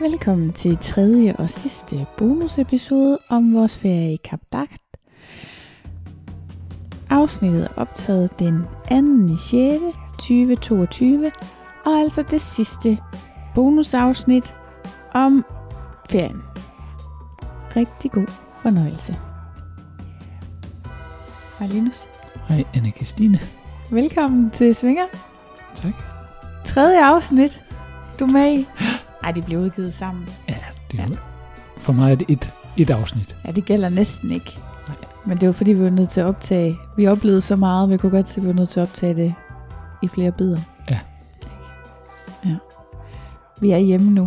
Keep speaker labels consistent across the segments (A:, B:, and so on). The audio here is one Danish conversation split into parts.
A: Velkommen til tredje og sidste bonusepisode om vores ferie i Kap Dagt. Afsnittet er optaget den 2. 6. 2022, og altså det sidste bonusafsnit om ferien. Rigtig god fornøjelse. Hej Linus.
B: Hej, anna Christine.
A: Velkommen til Svinger.
B: Tak.
A: Tredje afsnit. Du er med i. Ej, de blev udgivet sammen.
B: Ja, det er ja. For mig er det et, et afsnit.
A: Ja, det gælder næsten ikke. Men det var fordi, vi var nødt til at optage. Vi oplevede så meget, vi kunne godt se, at vi var nødt til at optage det i flere bidder.
B: Ja.
A: Ikke? ja. Vi er hjemme nu.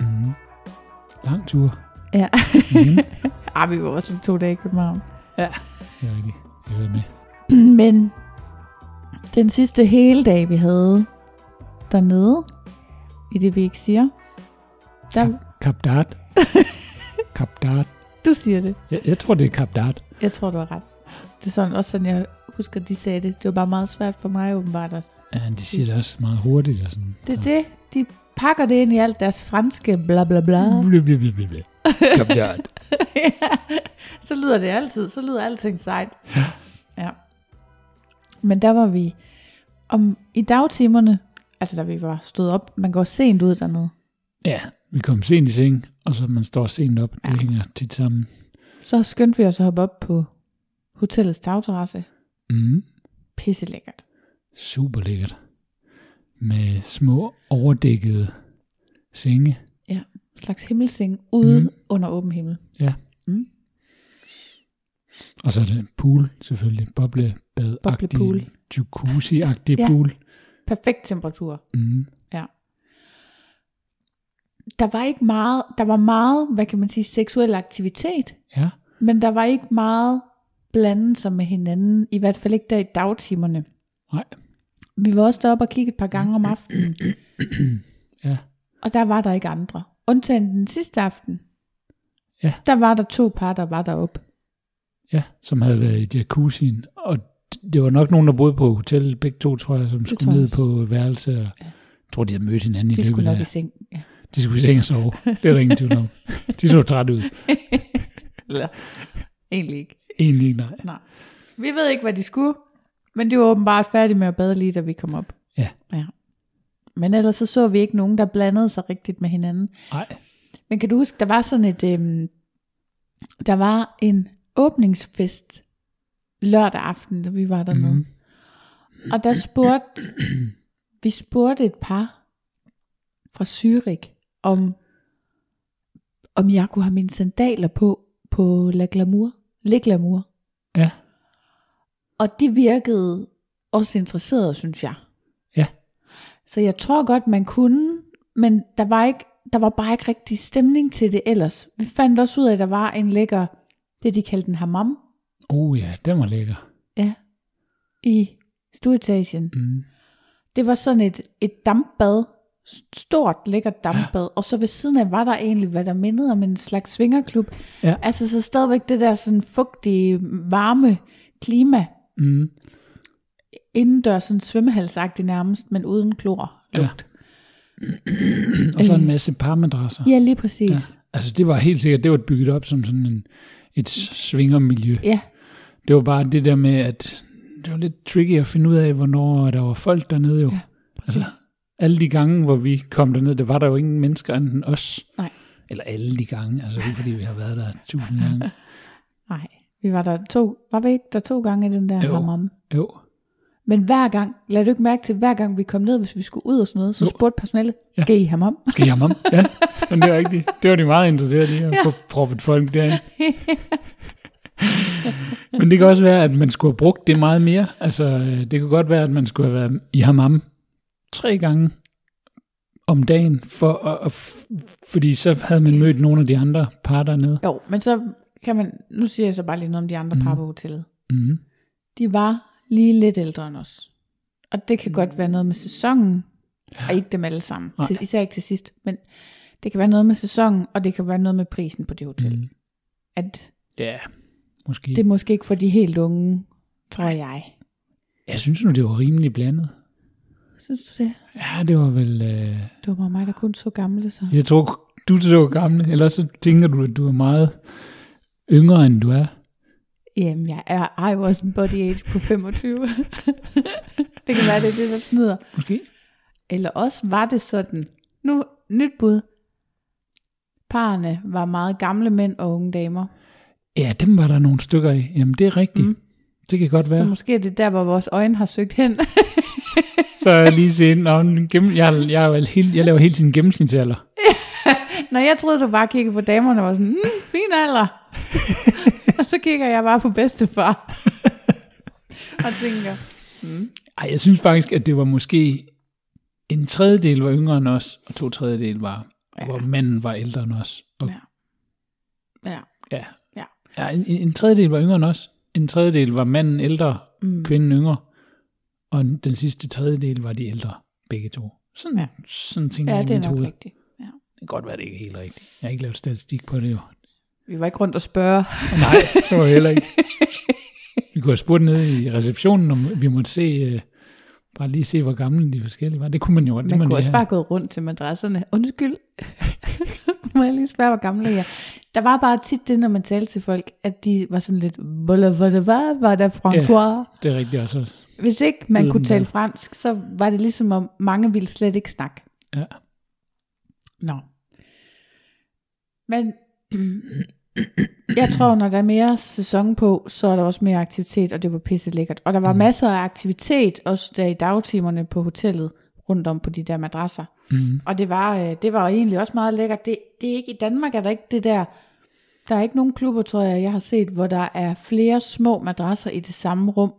A: Mhm.
B: Mm. Lang tur.
A: Ja.
B: Mm.
A: Ej, vi var også to dage i København.
B: det er rigtigt. Jeg er med.
A: Men den sidste hele dag, vi havde dernede, i det vi ikke siger, der,
B: Kap Dart. Kap Dart.
A: du siger det.
B: Jeg, jeg tror, det er Kap Dart.
A: Jeg tror, du har ret. Det er sådan, også sådan, jeg husker, de sagde det. Det var bare meget svært for mig åbenbart. at-
B: Ja, de siger det også meget hurtigt og sådan.
A: Det er det. De pakker det ind i alt deres franske bla bla bla.
B: Blah, blah, blah, blah, blah. Kap Dart.
A: Ja. så lyder det altid. Så lyder alting sejt. Ja. Men der var vi om i dagtimerne, altså da vi var stået op, man går sent ud dernede,
B: Ja, vi kom sent i seng, og så man står sent op. Det
A: Ja.
B: hænger tit sammen.
A: så skyndte vi os at hoppe op på hotellets tagterrasse.
B: Mm.
A: Pisse lækkert.
B: Super lækkert. Med små overdækkede senge.
A: En slags himmelseng ude
B: Mhm.
A: mm. under åben himmel.
B: Ja.
A: Mm.
B: Og så er det en pool, selvfølgelig. Boblebad-agtig,
A: Boblepool.
B: jacuzzi-agtig
A: Ja.
B: pool.
A: Perfekt temperatur.
B: Mm.
A: Der var ikke meget, der var meget, hvad kan man sige, seksuel aktivitet,
B: Ja,
A: men der var ikke meget blande sig med hinanden, i hvert fald ikke der i dagtimerne.
B: nej.
A: Vi var også deroppe og kigge et par gange om aftenen,
B: ja,
A: og der var der ikke andre. Undtagen den sidste aften.
B: Ja.
A: Der var der to par, der var deroppe.
B: ja, som havde været i jacuzzien. Og d- det var nok nogen, der boede på hotellet, begge to, tror jeg, som
A: tror
B: skulle
A: jeg
B: ned
A: også.
B: på et værelse. Og ja. Jeg tror, de havde mødt hinanden i
A: De
B: løbet
A: skulle nok i
B: af...
A: seng. Ja.
B: De skulle i seng og sove. Det er der ingen tvivl om. De så trætte ud.
A: Eller, egentlig ikke.
B: Egentlig ikke, nej.
A: Nej. Vi ved ikke, hvad de skulle, men de var åbenbart færdige med at bade lige, da vi kom op.
B: Ja.
A: ja. Men ellers så, så vi ikke nogen, der blandede sig rigtigt med hinanden.
B: Nej,
A: Men kan du huske, der var sådan et, øhm, der var en åbningsfest lørdag aften, da vi var dernede. Mm.
B: Mhm.
A: Og der spurgte, vi spurgte et par fra Zürich, om, om jeg kunne have mine sandaler på, på La Glamour. Le Glamour.
B: ja,
A: Og det virkede også interesseret, synes jeg.
B: ja.
A: Så jeg tror godt, man kunne, men der var, ikke, der var bare ikke rigtig stemning til det ellers. Vi fandt også ud af, at der var en lækker, det de kaldte en hammam,
B: Oh ja, den var lækker.
A: ja, i stueetagen.
B: Mm.
A: Det var sådan et, et dampbad, stort lækkert dampbad, og så ved siden af var der egentlig, hvad der mindede om en slags svingerklub.
B: Ja.
A: Altså så stadigvæk det der sådan fugtige, varme klima,
B: Mm.
A: indendørs, sådan svømmehalsagtig nærmest, men uden klor.
B: Ja. og så en
A: Øhm.
B: masse parmadrasser.
A: Ja, lige præcis.
B: Altså det var helt sikkert, det var bygget op som sådan en, et svingermiljø.
A: Ja, ja.
B: Det var bare det der med, at det var lidt tricky at finde ud af, hvornår der var folk dernede jo. Ja, Altså-
A: præcis.
B: alle de gange, hvor vi kom derned, der var der jo ingen mennesker anden os.
A: Nej.
B: Eller alle de gange, altså det er ikke fordi vi har været der tusind gange.
A: Nej, vi var der to, var vi ikke der to gange i den der
B: Jo.
A: hamam?
B: Jo,
A: Men hver gang, lad du ikke mærke til, hver gang vi kom ned, hvis vi skulle ud og sådan noget, så
B: Jo.
A: spurgte personalet, skal I ham om?
B: skal jeg om? Ja, men det var ikke det. Det var de meget interesserede i, at få proppet folk derind. Men det kan også være, at man skulle have brugt det meget mere. Altså, øh, det kunne godt være, at man skulle have været i hammam tre gange om dagen, for at, at f- fordi så havde man mødt nogle af de andre par dernede.
A: Jo, men så kan man, nu siger jeg så bare lige noget om de
B: Mhm.
A: andre mm. par på hotellet.
B: Mm.
A: De var lige lidt ældre end os. Og det kan godt være noget med sæsonen, og ikke dem alle sammen.
B: Nej.
A: Til, især ikke til sidst, men det kan være noget med sæsonen, og det kan være noget med prisen på det hotel.
B: Mhm.
A: Mm. At
B: Ja, måske.
A: det er
B: Det...
A: måske ikke for de helt unge, tror jeg.
B: Jeg synes nu, det var rimelig blandet.
A: Synes du det?
B: Ja, det var vel... Øh...
A: Det var bare mig, der kun så gamle, så.
B: Jeg tror, du er så gammel, eller så tænker du, at du er meget yngre, end du er.
A: Jamen, jeg er, I was en body age på 25. det kan være, det er det, der snyder.
B: Måske.
A: Eller også var det sådan, nu nyt bud. Parerne var meget gamle mænd og unge damer.
B: Ja, dem var der nogle stykker af. Jamen, det er rigtigt. Mm. Det kan godt
A: Så
B: være.
A: måske er det der, hvor vores øjne har søgt hen.
B: Så er jeg lige se ind, og en gennem, jeg, jeg, jeg, er jo helt, jeg laver hele tiden gennemsnitsalder.
A: Når jeg troede, du bare kiggede på damerne og var sådan, mm, fin alder. og så kigger jeg bare på bedstefar. og tænker,
B: Ej, jeg synes faktisk, at det var måske en tredjedel var yngre end os, og to tredjedel var, ja. hvor manden var ældre end os. Og,
A: Ja. ja,
B: ja.
A: ja.
B: ja en, en en tredjedel var yngre end os, en tredjedel var manden ældre, mm. kvinden yngre, og en- den sidste tredjedel var de ældre, begge to. Sådan, ja.
A: Ja.
B: sådan tænker
A: Ja,
B: jeg i
A: det
B: mit
A: er nok
B: hoved.
A: rigtigt. Ja.
B: Det kan godt være, det ikke er helt rigtigt. Jeg har ikke lavet statistik på det jo.
A: Vi var ikke rundt og spørge.
B: Nej, det var heller ikke. Vi kunne have spurgt nede i receptionen, om vi måtte se, øh, bare lige se, hvor gamle de forskellige var. Det kunne man jo. det
A: Man kunne
B: lige
A: også
B: have.
A: bare gå rundt til madrasserne. Undskyld, må jeg lige spørge, hvor gamle jeg er? Der var bare tit det, når man talte til folk, at de var sådan lidt, voilà, voilà, hvad var der François?
B: Det er rigtigt også.
A: Hvis ikke man
B: Lyden
A: kunne tale
B: der.
A: fransk, så var det ligesom, om mange ville slet ikke snakke.
B: Ja.
A: Nå. Men jeg tror, når der er mere sæson på, så er der også mere aktivitet, og det var pisse lækkert. Og der var mm. masser af aktivitet, også der i dagtimerne på hotellet, rundt om på de der madrasser.
B: Mm.
A: Og det var, øh, det var egentlig også meget lækkert. Det, det er ikke, I Danmark er der ikke det der, der er ikke nogen klubber, tror jeg, jeg har set, hvor der er flere små madrasser i det samme rum.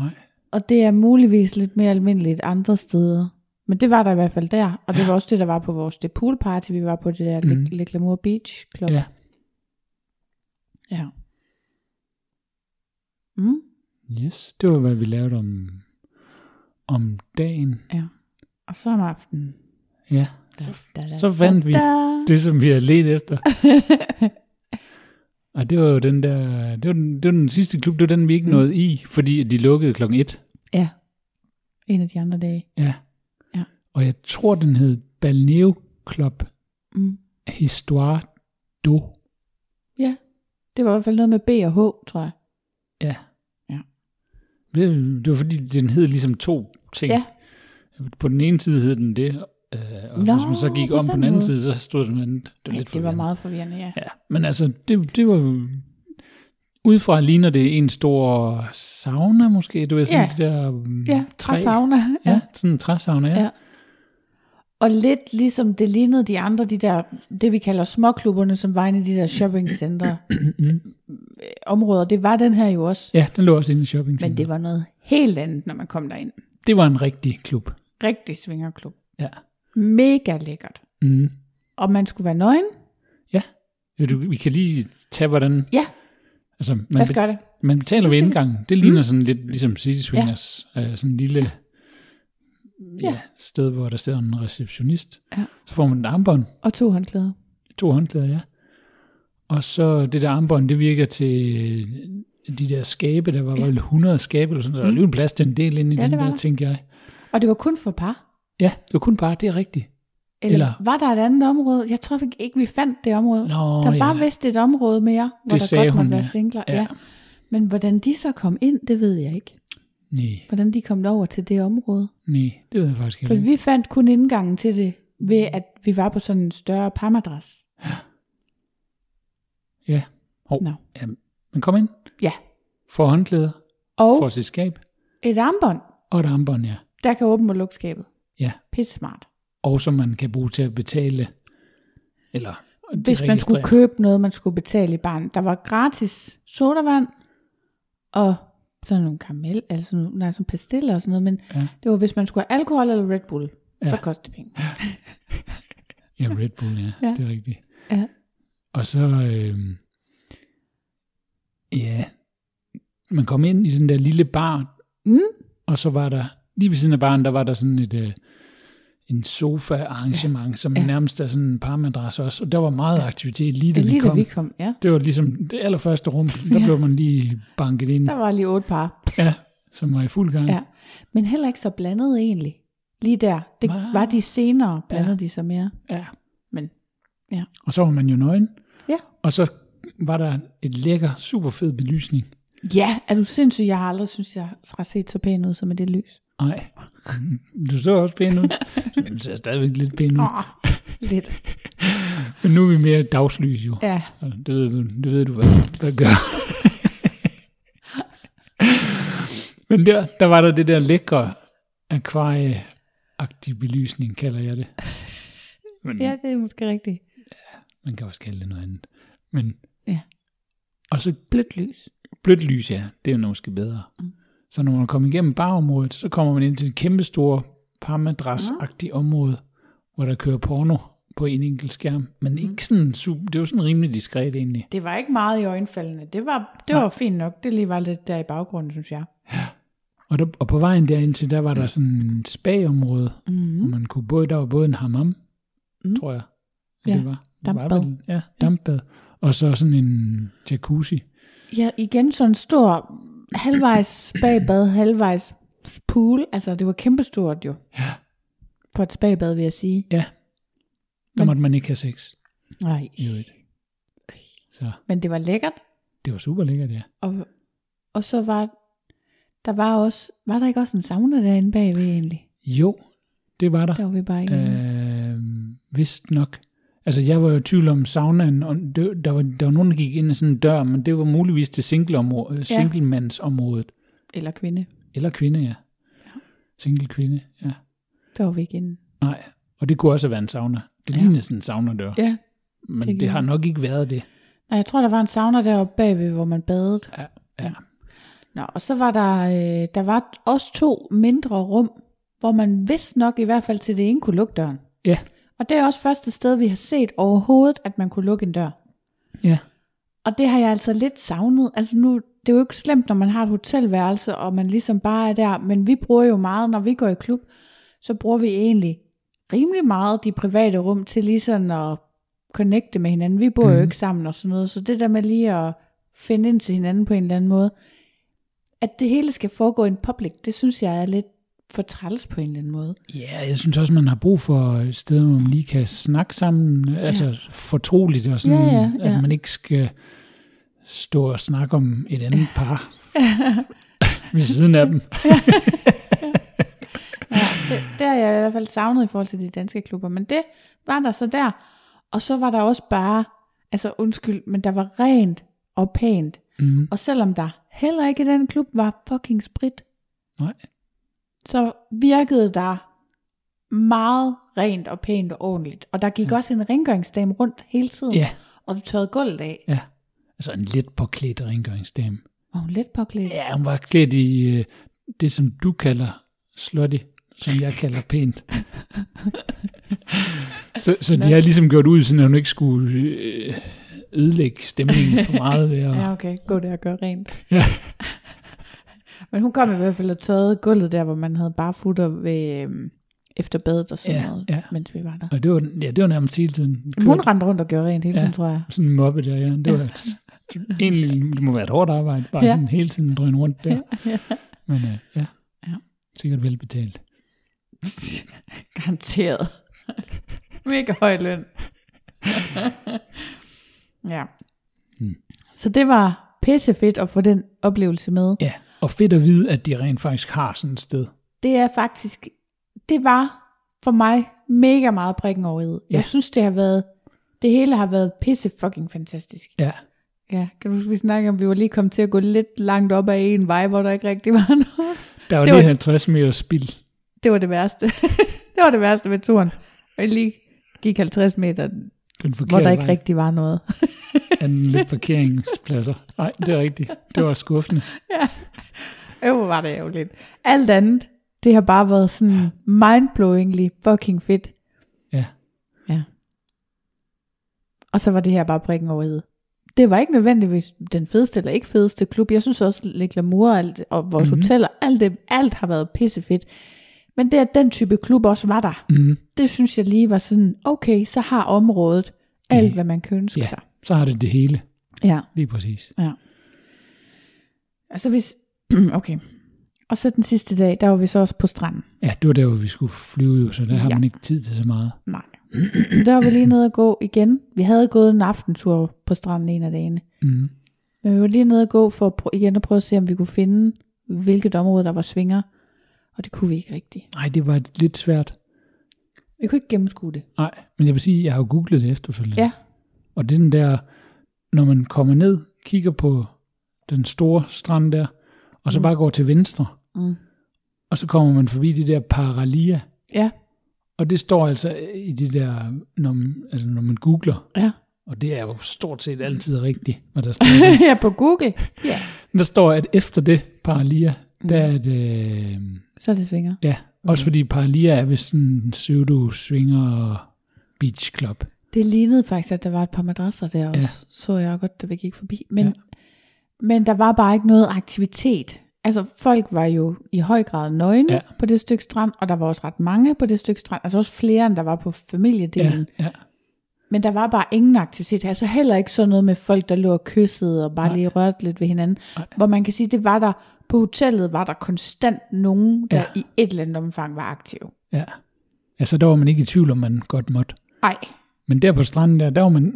B: Nej.
A: Og det er muligvis lidt mere almindeligt andre steder. Men det var der i hvert fald der, og det var også det, der var på vores det poolparty, vi var på det der
B: Mm.
A: mm. Le Glamour Beach Club.
B: Ja.
A: ja. Mm.
B: Yes, det var, hvad vi lavede om, om dagen.
A: ja. Og så om aftenen.
B: Ja.
A: Da, da, da,
B: så fandt vi-
A: da.
B: Det, som vi har let efter. Og det var jo den der, det var den, det var den sidste klub, det var den, vi ikke nåede i, fordi de lukkede klokken et.
A: Ja. En af de andre dage.
B: Ja.
A: Ja.
B: Og jeg tror, den hed Balneo Club
A: Mm.
B: Histoire du.
A: Ja. Det var i hvert fald noget med B og H, tror jeg.
B: Ja.
A: Ja.
B: Det, det var fordi, den hed ligesom to ting.
A: Ja.
B: På den ene side hed den det, øh, og
A: Nå,
B: hvis man så gik
A: på
B: om på
A: den
B: den anden
A: måde.
B: side, så stod det noget andet. Det var,
A: Ej,
B: lidt
A: det var
B: forvirrende.
A: meget forvirrende, ja.
B: Ja, men altså, det, det var... Udefra ligner det en stor sauna måske, du ved, sådan
A: Ja.
B: det der um,
A: Ja,
B: træ.
A: fra sauna.
B: Ja. ja, sådan en træsauna, ja.
A: Ja. Og lidt ligesom det lignede de andre, de der, det vi kalder småklubberne, som var inde i de der shoppingcenter øh, områder. Det var den her jo også.
B: Ja, den lå også inde i shopping.
A: Men det var noget helt andet, når man kom derind.
B: det var en rigtig klub.
A: Rigtig svingerklub.
B: Ja.
A: Mega lækkert.
B: Mm.
A: Og man skulle være nøgen.
B: Ja. ja du, vi kan lige tage, hvordan...
A: Ja,
B: Altså, man
A: lad os gøre
B: bet-
A: det.
B: Man betaler ved indgangen. Det
A: Mm.
B: ligner sådan lidt ligesom City Swingers. Ja. Øh, sådan en lille ja, sted, hvor der sidder en receptionist.
A: Ja.
B: Så får man et armbånd.
A: Og to håndklæder.
B: To håndklæder, ja. Og så det der armbånd, det virker til øh, de der skabe, der var vel 100 skabe, eller sådan, der var alligevel plads til en del ind
A: Mm. Ja,
B: i ja, den
A: det var
B: der,
A: der.
B: tænkte jeg.
A: Og det var kun for par?
B: Ja, det var kun bare, det er rigtigt.
A: Eller,
B: Eller-
A: Eller var der et andet område? Jeg tror ikke, vi fandt det område.
B: Nå,
A: der var
B: ja.
A: vist et område mere, hvor
B: Det
A: der
B: sagde
A: godt måtte
B: hun,
A: være
B: ja.
A: singler.
B: Ja.
A: Ja. Men hvordan de så kom ind, det ved jeg ikke.
B: Nej,
A: Hvordan de kom over til det område.
B: nej, det ved jeg faktisk
A: For
B: ikke.
A: vi fandt kun indgangen til det, ved at vi var på sådan en større parmadras.
B: Ja. Hov.
A: Nå.
B: ja. Men kom ind,
A: Ja.
B: får håndklæder,
A: Og
B: får sit skab,
A: et armbånd,
B: og et armbånd, ja.
A: der kan åbne og lukke skabet.
B: ja.
A: Pisse smart.
B: Og som man kan bruge til at betale, eller det
A: Hvis man skulle
B: registrerer.
A: købe noget, man skulle betale i barn. Der var gratis sodavand, og sådan nogle karamel, altså sådan nogle, nej, sådan pastiller og sådan noget, men
B: Ja.
A: ja. det var, hvis man skulle have alkohol eller Red Bull, ja. så
B: Ja.
A: kostede det penge.
B: Ja, Red Bull, ja, ja.
A: Ja.
B: det er rigtigt.
A: Ja.
B: Og så, øh, ja, man kom ind i den der lille bar,
A: Mm.
B: og så var der, lige ved siden af baren, der var der sådan et, øh, en sofa-arrangement, ja. som ja. nærmest er sådan en parmadras også, og der var meget aktivitet lige da
A: Det er
B: vi
A: lige da
B: kom.
A: vi kom, ja.
B: Det var ligesom det allerførste rum, der
A: ja.
B: blev man lige banket ind,
A: Der var lige otte par.
B: ja, som var i fuld gang.
A: Ja. Men heller ikke så blandet egentlig. Lige der. Det
B: Nej.
A: var de senere, blandede ja. de sig mere.
B: ja.
A: Men
B: Og så var man jo nøgen,
A: ja.
B: og så var der et lækker, super fed belysning.
A: Ja, er du sindssyg? Jeg har aldrig synes, jeg har set så pæn ud som med det lys.
B: Nej, du så også pæn ud. Men du ser stadigvæk lidt pæn ud.
A: Åh, lidt.
B: Men nu er vi mere dagslys jo.
A: Ja.
B: Så Det ved du, det ved du hvad, hvad gør. Men der, der var der det der lækre akvarieagtige belysning, kalder jeg det. Men
A: ja, det er måske rigtigt.
B: man kan også kalde det noget andet. Men,
A: Ja.
B: Og så
A: Blødt lys.
B: blødt lys, ja, det er jo måske bedre. Mm. Så når man kommer igennem barområdet, så kommer man ind til et kæmpestort parmadrasagtigt
A: Mm.
B: område, hvor der kører porno på en enkelt skærm.
A: Mm.
B: Men ikke sådan super, det er jo sådan rimelig diskret egentlig.
A: Det var ikke meget i øjenfaldene. Det var, det var fint nok. Det lige var lidt der i baggrunden, synes jeg.
B: Og, der, og på vejen derind til, der var
A: Mm.
B: der sådan et spa-område,
A: Mhm.
B: mm. hvor man kunne både, der var både en hammam, mm. tror jeg,
A: Ja,
B: det var. Det var
A: dampbad.
B: vel- Ja, dampbad. Og så sådan en jacuzzi.
A: Ja, igen sådan en stor halvvejs bagbad, halvvejs pool. Altså, det var kæmpestort jo.
B: Ja.
A: For et spagbad, vil jeg sige.
B: Ja, der måtte man ikke have sex.
A: Nej.
B: i øvrigt. Så
A: Men det var lækkert.
B: det var super lækkert, ja.
A: Og, og så var der var også, var der ikke også en sauna derinde bagved egentlig?
B: Jo, det var der.
A: Der var vi bare ikke. Øh,
B: Øh, vist nok. Altså, jeg var jo i tvivl om saunaen, og det, der, var, der var nogen, der gik ind i sådan en dør, men det var muligvis til singleområdet,
A: Ja.
B: singlemandsområdet.
A: Eller kvinde.
B: Eller kvinde, ja. Single kvinde, ja.
A: Der var vi ikke inde.
B: Nej, og det kunne også have været en sauna. Det
A: Ja.
B: lignede sådan en saunadør,
A: Ja.
B: men det,
A: det
B: det har
A: gjorde
B: nok ikke været det.
A: Nej, jeg tror, der var en sauna deroppe bagved, hvor man badede.
B: Ja, ja.
A: Nå, og så var der, øh, der var også to mindre rum, hvor man vidst nok i hvert fald til det ene kunne lukke døren.
B: ja.
A: Og det er også første sted, vi har set overhovedet, at man kunne lukke en dør.
B: ja.
A: Og det har jeg altså lidt savnet. Altså nu, det er jo ikke slemt, når man har et hotelværelse, og man ligesom bare er der, men vi bruger jo meget, når vi går i klub, så bruger vi egentlig rimelig meget de private rum til lige sådan at connecte med hinanden. Vi bor mm. jo
B: Mhm.
A: ikke sammen og sådan noget, så det der med lige at finde ind til hinanden på en eller anden måde, at det hele skal foregå i en public, det synes jeg er lidt for træls på en eller anden måde.
B: Ja, jeg synes også, man har brug for et sted, hvor man lige kan snakke sammen, ja. altså fortroligt og sådan,
A: Ja, ja, ja.
B: at man ikke skal stå og snakke om et andet par ved siden af dem.
A: det, det har jeg i hvert fald savnet i forhold til de danske klubber, men det var der så der. Og så var der også bare, altså undskyld, men der var rent og pænt.
B: Mm,
A: Og selvom der heller ikke i den klub var fucking sprit,
B: nej,
A: så virkede der meget rent og pænt og ordentligt. Og der gik ja. også en rengøringsdame rundt hele tiden,
B: Ja.
A: og du tørrede gulvet af.
B: ja. Altså en lidt påklædt rengøringsdame.
A: Og hun let påklædt.
B: Ja, hun var klædt i øh, det, som du kalder slutty, som jeg kalder pænt. så så de har ligesom gjort ud, sådan at hun ikke skulle øh, ødelægge stemningen for meget ved at...
A: Ja, okay. Gå der og gør rent.
B: Ja.
A: Men hun kom i hvert fald og tørrede gulvet der, hvor man havde bare futter ved, øhm, efter badet og sådan
B: Ja,
A: noget,
B: ja.
A: mens vi var der.
B: Og det var, ja, det var nærmest hele tiden.
A: Hun rendte rundt og gjorde rent hele
B: Ja.
A: tiden, tror jeg.
B: Sådan en mobbe der, ja. Det var egentlig, det må være et hårdt arbejde, bare
A: Ja.
B: ja. sådan hele tiden drøne rundt der.
A: Ja.
B: Men øh, ja,
A: Ja.
B: sikkert velbetalt.
A: Garanteret. Mega høj løn. ja.
B: Hmm.
A: Så det var pissefedt at få den oplevelse med.
B: Ja, og fedt at vide, at de rent faktisk har sådan et sted.
A: Det er faktisk, det var for mig mega meget prikken over i.
B: Ja.
A: Jeg synes, det har været, det hele har været pisse fucking fantastisk.
B: Ja,
A: Ja, kan du huske, vi snakkede om, vi var lige kommet til at gå lidt langt op ad en vej, hvor der ikke rigtig var noget.
B: der var
A: Det
B: det
A: var-
B: lige 50 meter spild.
A: Det var det værste. det var det værste ved turen. Og jeg lige gik 50 meter,
B: Den forkerte
A: hvor der ikke
B: vej.
A: rigtig var noget.
B: anden lidt parkeringspladser. Nej, det er rigtigt. Det var skuffende.
A: Øv, hvor var det ærgerligt. Alt andet, det har bare været sådan mindblowingly fucking fedt.
B: Ja.
A: Ja. Og så var det her bare prikken over i. Det var ikke nødvendigvis den fedeste eller ikke fedeste klub. Jeg synes også, Le Glamour og, alt, og vores mm-hmm.
B: Mhm.
A: hoteller, alt, det, alt har været pissefedt. Men det, at den type klub også var der,
B: Mm.
A: det synes jeg lige var sådan, okay, så har området alt,
B: Ja.
A: hvad man kan ønske
B: Ja.
A: sig.
B: Så har det det hele.
A: Ja.
B: Lige præcis.
A: Altså hvis... okay. Og så den sidste dag, der var vi så også på stranden.
B: Ja, det var der, hvor vi skulle flyve jo, så der har
A: Ja.
B: man ikke tid til så meget.
A: Nej. Så der var vi lige nede og gå igen. Vi havde gået en aftentur på stranden en af dagene.
B: Mm.
A: Men vi var lige nede og gå for at prø- igen at prøve at se, om vi kunne finde, hvilket område der var svinger. Og det kunne vi ikke rigtigt.
B: Nej, det var lidt svært.
A: Vi kunne ikke gennemskue det.
B: Nej, men jeg vil sige, jeg har jo googlet det efterfølgende.
A: Ja.
B: Og det er den der, når man kommer ned, kigger på den store strand der, og så
A: Mm.
B: bare går til venstre,
A: Mm.
B: og så kommer man forbi de der paralia,
A: Ja,
B: og det står altså i de der, når man, altså når man googler,
A: ja.
B: og det er jo stort set altid rigtigt, hvad der står der.
A: ja, på Google. Ja.
B: Men Der står, at efter det, Paralia,
A: Mm.
B: der er det... Øh,
A: Så er det svinger.
B: ja,
A: Mm.
B: også fordi Paralia er vist sådan en pseudo-swinger beach club.
A: Det lignede faktisk, at der var et par madrasser der også. Ja. Så jeg godt, da vi gik forbi. Men, ja.
B: Ja.
A: men der var bare ikke noget aktivitet. Altså folk var jo i høj grad nøgne ja.
B: Ja.
A: på det stykke strand, og der var også ret mange på det stykke strand. Altså også flere, end der var på
B: Ja,
A: familiedelen. Ja.
B: ja.
A: Men der var bare ingen aktivitet. Altså heller ikke sådan noget med folk, der lå og kyssede og bare Nej.
B: Nej.
A: lige rørte lidt ved hinanden. Nej.
B: Nej.
A: Hvor man kan sige, det var der på hotellet var der konstant nogen, der ja.
B: Ja.
A: i et eller andet omfang var aktive.
B: ja. Altså, der var man ikke i tvivl, om man godt måtte.
A: Nej,
B: Men der på stranden der, der var man,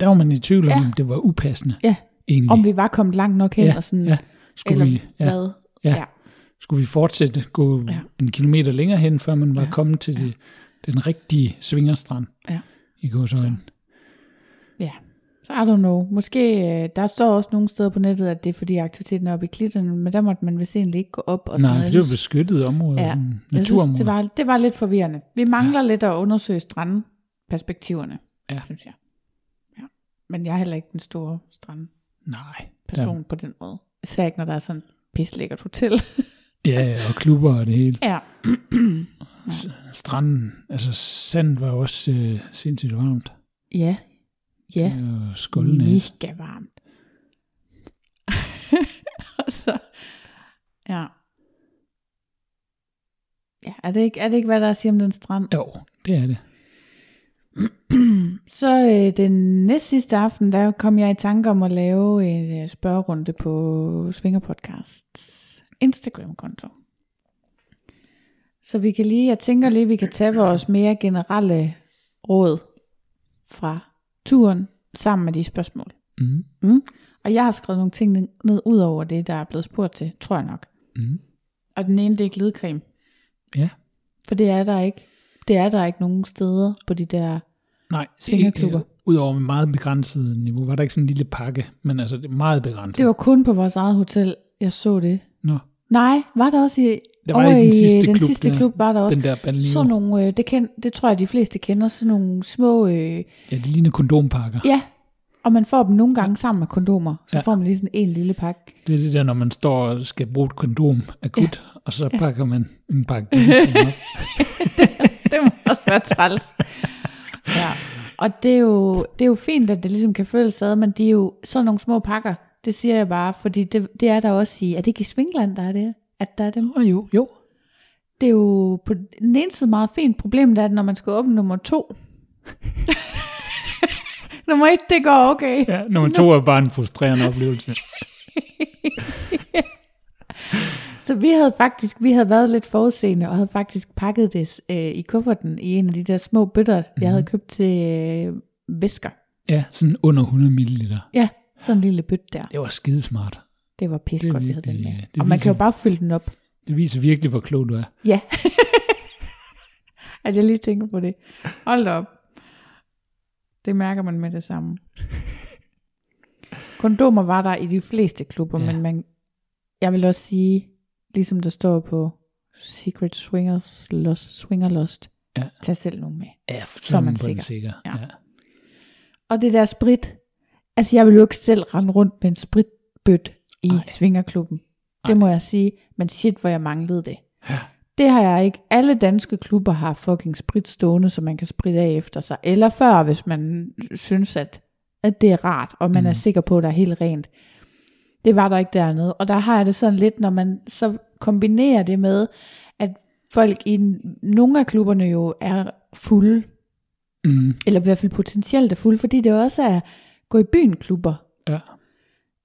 B: der var man i tvivl, om
A: Ja.
B: det var upassende.
A: ja.
B: Egentlig.
A: Om vi var kommet langt nok hen
B: ja,
A: og sådan.
B: ja. Skulle,
A: eller
B: vi, ja,
A: hvad?
B: Ja. skulle vi fortsætte, gå
A: Ja.
B: ja. en kilometer længere hen, før man var
A: Ja,
B: ja. kommet til det, den rigtige svingerstrand
A: Ja.
B: i gåsøjne.
A: Ja, så I don't know. Måske, øh, der står også nogle steder på nettet, at det er fordi aktiviteten er oppe i klitterne, men der måtte man vist egentlig ikke gå op. Og sådan
B: Nej,
A: noget.
B: for
A: Jeg
B: det var
A: synes-
B: beskyttet område,
A: Ja.
B: ja. sådan
A: jeg synes,
B: naturområde.
A: det, var, det var lidt forvirrende. Vi mangler ja. lidt at undersøge strandperspektiverne, ja.
B: Ja.
A: synes jeg. Ja. Men jeg er heller ikke den store strandperson
B: Nej,
A: ja. på den måde. Især ikke, når der er sådan et pislækkert hotel.
B: Ja, ja, og klubber og det hele.
A: ja.
B: Stranden, altså sand var også øh, sindssygt varmt. Øh,
A: Ja. Ja. Mm.
B: Og skuldene.
A: Mega varmt. og så, ja. Ja, er det, ikke, er det ikke, hvad der er at sige om den strand?
B: Jo, det er det.
A: Så øh, den næste sidste aften, der kom jeg i tanke om at lave en øh, spørgerunde på Svinger Podcasts Instagram-konto. Så vi kan lige, jeg tænker lige, vi kan tage vores mere generelle råd fra turen sammen med de spørgsmål.
B: Mm,
A: Mm. Og jeg har skrevet nogle ting ned- ned ud over det, der er blevet spurgt til, tror jeg nok.
B: mm.
A: Og den ene, det er glidecreme.
B: Ja.
A: For det er der ikke. Det er der ikke nogen steder på de der...
B: Nej,
A: Svingerklubber.
B: ikke- Udover med meget begrænset niveau, var der ikke sådan en lille pakke, men altså det er meget begrænset.
A: Det var kun på vores eget hotel, jeg så det.
B: Nå,
A: Nej, var der også i...
B: Der var
A: over
B: i den sidste
A: den
B: klub
A: sidste
B: der.
A: klub var der også.
B: den der
A: sådan
B: balneo.
A: nogle, øh, det, kend, det tror jeg, de fleste kender, sådan nogle små... Øh,
B: Ja, det ligner kondompakker.
A: ja, og man får dem nogle gange sammen med kondomer. Så ja.
B: Ja.
A: får man lige sådan en lille pakke.
B: Det er det der, når man står og skal bruge et kondom akut, ja. og så pakker man en pakke glidecreme op.
A: det må også være træls. Ja. Og det er, jo, det er jo fint, at det ligesom kan føles ad, men det er jo sådan nogle små pakker, det siger jeg bare, fordi det, det er der også i, er det ikke i Svingland, der er det? At der er dem?
B: Nå, jo, jo.
A: Det er jo på den ene side meget fint. Problemet er, at når man skal åbne nummer to, Nummer et, det går okay.
B: Ja, nummer to er bare en frustrerende oplevelse.
A: Så vi havde faktisk, vi havde været lidt forudseende, og havde faktisk pakket det øh, i kufferten i en af de der små bøtter,
B: Mhm.
A: mm-hmm. jeg havde købt til øh, væsker.
B: Ja, sådan under 100 milliliter.
A: Ja, sådan en lille bøtte der.
B: Det var skidesmart.
A: Det var
B: Det er
A: pissegodt, vi havde den
B: virkelig-
A: med.
B: det
A: Og man kan
B: viser-
A: jo bare fylde den op.
B: Det viser virkelig, hvor klog du er.
A: Ja. at jeg lige tænker på det. Hold da op. Det mærker man med det samme. Kondomer var der i de fleste klubber,
B: Ja.
A: ja. men man, jeg vil også sige, ligesom der står på Secret Swingers Lost, Swinger Lost,
B: Ja.
A: tag selv nogen med.
B: Ja,
A: Så er man
B: på den
A: sikker.
B: sikker.
A: Ja.
B: ja.
A: Og det der sprit, altså jeg vil jo ikke selv rende rundt med en spritbøt i Ej. svingerklubben. Det må jeg sige, men shit, hvor jeg manglede det.
B: Ja.
A: Det har jeg ikke. Alle danske klubber har fucking sprit stående, så man kan spritte af efter sig. Eller før, hvis man synes, at, at det er rart, og man mm. er sikker på, at der er helt rent. Det var der ikke dernede. Og der har jeg det sådan lidt, når man så kombinerer det med, at folk i n- nogle af klubberne jo er fulde,
B: Mm,
A: eller i hvert fald potentielt er fulde, fordi det også er gå i byen klubber,
B: ja.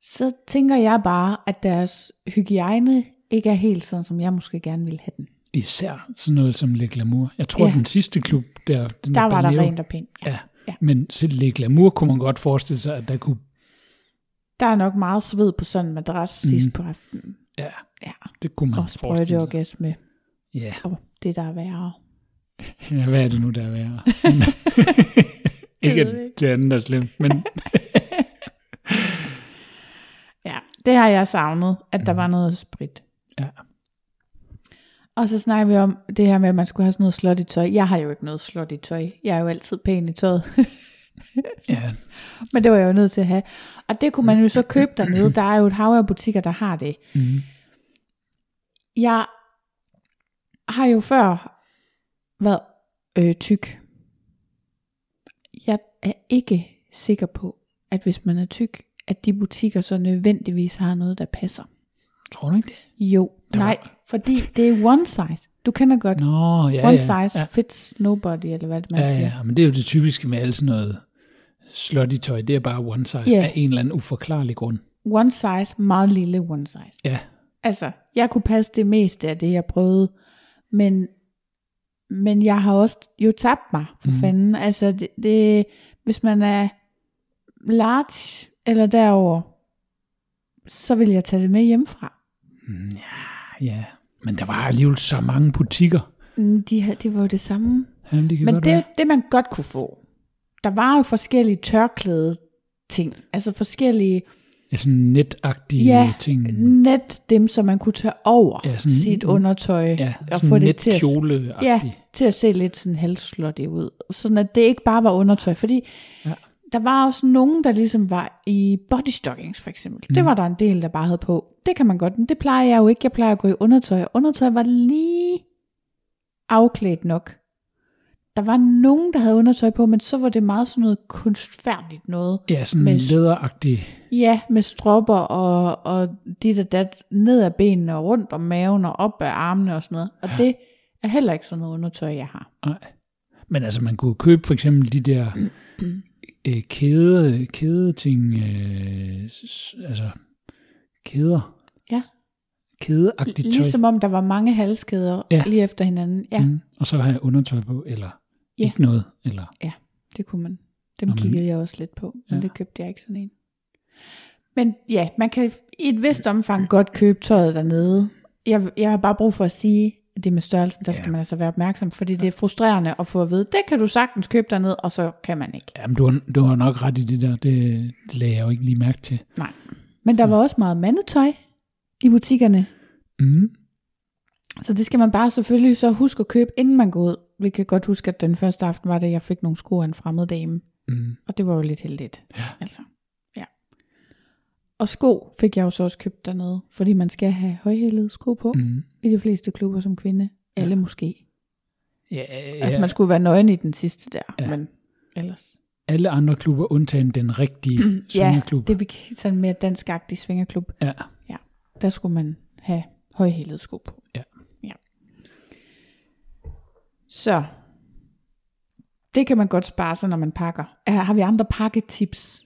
A: så tænker jeg bare, at deres hygiejne ikke er helt sådan, som jeg måske gerne ville have den.
B: Især sådan noget som Le Glamour. Jeg tror, ja.
A: Ja.
B: den sidste klub, der, den
A: Der var der
B: Baneo-
A: rent og pænt.
B: Ja.
A: Ja.
B: Men selv Le Glamour kunne man godt forestille sig, at der kunne...
A: Der er nok meget sved på sådan en madras mm. sidst på aftenen.
B: Ja,
A: Ja,
B: det kunne man
A: og
B: forestille sig.
A: sprøjteorgasme
B: Ja.
A: og det, der er værre.
B: ja, hvad er det nu, der er værre? ikke
A: ved jeg
B: at det andet er slemt, men
A: Ja, det har jeg savnet, at der var noget sprit.
B: Mm. ja.
A: Og så snakker vi om det her med, at man skulle have sådan noget slot i tøj. Jeg har jo ikke noget slot i tøj. Jeg er jo altid pæn i tøjet.
B: ja.
A: Men det var jeg jo nødt til at have. Og det kunne man jo så købe dernede. Der er jo et hav af butikker, der har det.
B: Mm.
A: Jeg har jo før været øh, tyk. Jeg er ikke sikker på, at hvis man er tyk, at de butikker så nødvendigvis har noget, der passer.
B: Tror du ikke det?
A: Jo,
B: Der var-
A: nej, fordi det er one size. Du kender godt,
B: Nå, ja,
A: one
B: ja.
A: size
B: ja.
A: fits nobody, eller hvad det man
B: Ja,
A: siger.
B: ja, men det er jo det typiske med alt sådan noget slutty tøj. Det er bare one size
A: Ja.
B: af en eller anden uforklarlig grund.
A: One size, meget lille one size.
B: Ja,
A: Altså, jeg kunne passe det meste af det, jeg prøvede, men, men jeg har også jo tabt mig, for mm. fanden. Altså, det, det, hvis man er large eller derover, så vil jeg tage det med hjemmefra.
B: ja. Men der var alligevel så mange butikker.
A: Mm, De, her- det var jo det samme.
B: Jamen, det kan
A: Men
B: godt
A: det er jo
B: være.
A: det, man godt kunne få. Der var jo forskellige tørklæde ting, altså forskellige
B: Ja, sådan netagtige
A: ja,
B: ting.
A: net dem, som man kunne tage over
B: Ja,
A: ja,
B: sådan-
A: sit undertøj
B: Ja,
A: og
B: sådan
A: få det til at
B: netkjole
A: Ja, til at se lidt sådan halvslottig ud. Sådan at det ikke bare var undertøj, fordi
B: Ja.
A: ja. der var også nogen, der ligesom var i body stockings for eksempel. Mm. Det var der en del, der bare havde på. Det kan man godt, men det plejer jeg jo ikke. Jeg plejer at gå i undertøj, og undertøj var lige afklædt nok. Der var nogen, der havde undertøj på, men så var det meget sådan noget kunstfærdigt noget.
B: Ja, sådan
A: Med-
B: læderagtige.
A: Ja, med stropper og, og dit og dat ned ad benene og rundt om maven og op ad armene og sådan noget. Og ja. det er heller ikke sådan noget undertøj, jeg har.
B: Nej. Men altså, man kunne købe for eksempel de der øh, kæde, kædeting, øh, s- s- altså kæder,
A: Ja.
B: kædeagtigt tøj.
A: Ligesom om der var mange halskæder
B: Ja.
A: ja. lige efter hinanden. Ja, mm.
B: Mm, og så have undertøj på, eller
A: Ja.
B: ikke noget, eller
A: det kunne man. Dem
B: Nå, men-
A: kiggede jeg også lidt på, men
B: Ja.
A: ja. det købte jeg ikke sådan en. Men ja, man kan i et vist omfang godt købe tøjet dernede. Jeg, jeg har bare brug for at sige, at det med størrelsen, der skal
B: Ja.
A: man altså være opmærksom, fordi det er frustrerende at få at vide, det kan du sagtens købe dernede, og så kan man ikke.
B: Jamen, du har, du har nok ret i det der. Det, det lagde jeg jo ikke lige mærke til.
A: Nej. Men der var også meget mandetøj i butikkerne,
B: Mm.
A: så det skal man bare selvfølgelig så huske at købe, inden man går ud. Vi kan godt huske, at den første aften var det, jeg fik nogle sko af en fremmed dame.
B: Mm.
A: Og det var jo lidt heldigt.
B: Ja.
A: Altså, ja. Og sko fik jeg jo så også købt dernede, fordi man skal have højhælede sko på mm.
B: Mm.
A: i de fleste klubber som kvinde. Alle måske.
B: Ja,
A: Ja.
B: altså,
A: Altså man skulle være nøgen i den sidste der,
B: Ja.
A: ja. men ellers.
B: Alle andre klubber, undtagen den rigtige svingerklub.
A: Ja, det vi kan- sådan mere danskagtig svingerklub.
B: Ja.
A: Ja, der skulle man have højhælede sko på.
B: Ja.
A: ja. Så Det kan man godt spare sig, når man pakker. Er, har vi andre pakketips?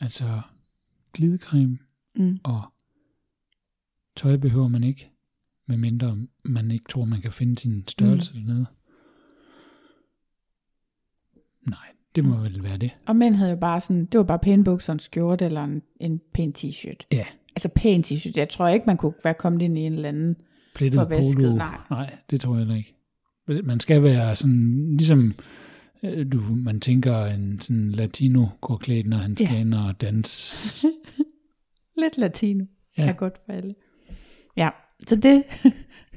B: Altså, glidecreme
A: Mm.
B: og tøj behøver man ikke, medmindre man ikke tror, man kan finde sin størrelse mm. dernede. Nej, det
A: Mm.
B: må vel være det.
A: Og mænd havde jo bare sådan, det var bare pæne bukser, en skjorte eller en, en pæn t-shirt.
B: Ja,
A: Altså pæn t-shirt. Jeg tror ikke, man kunne være kommet ind i en eller anden.
B: plettet
A: Forvasket,
B: polo.
A: nej.
B: nej, det tror jeg heller ikke. Man skal være sådan, ligesom øh, du, man tænker en sådan latino går klædt, når han
A: Ja.
B: skal ind og danse.
A: Lidt latino. Ja.
B: Ja.
A: Er godt for alle. Ja, så det,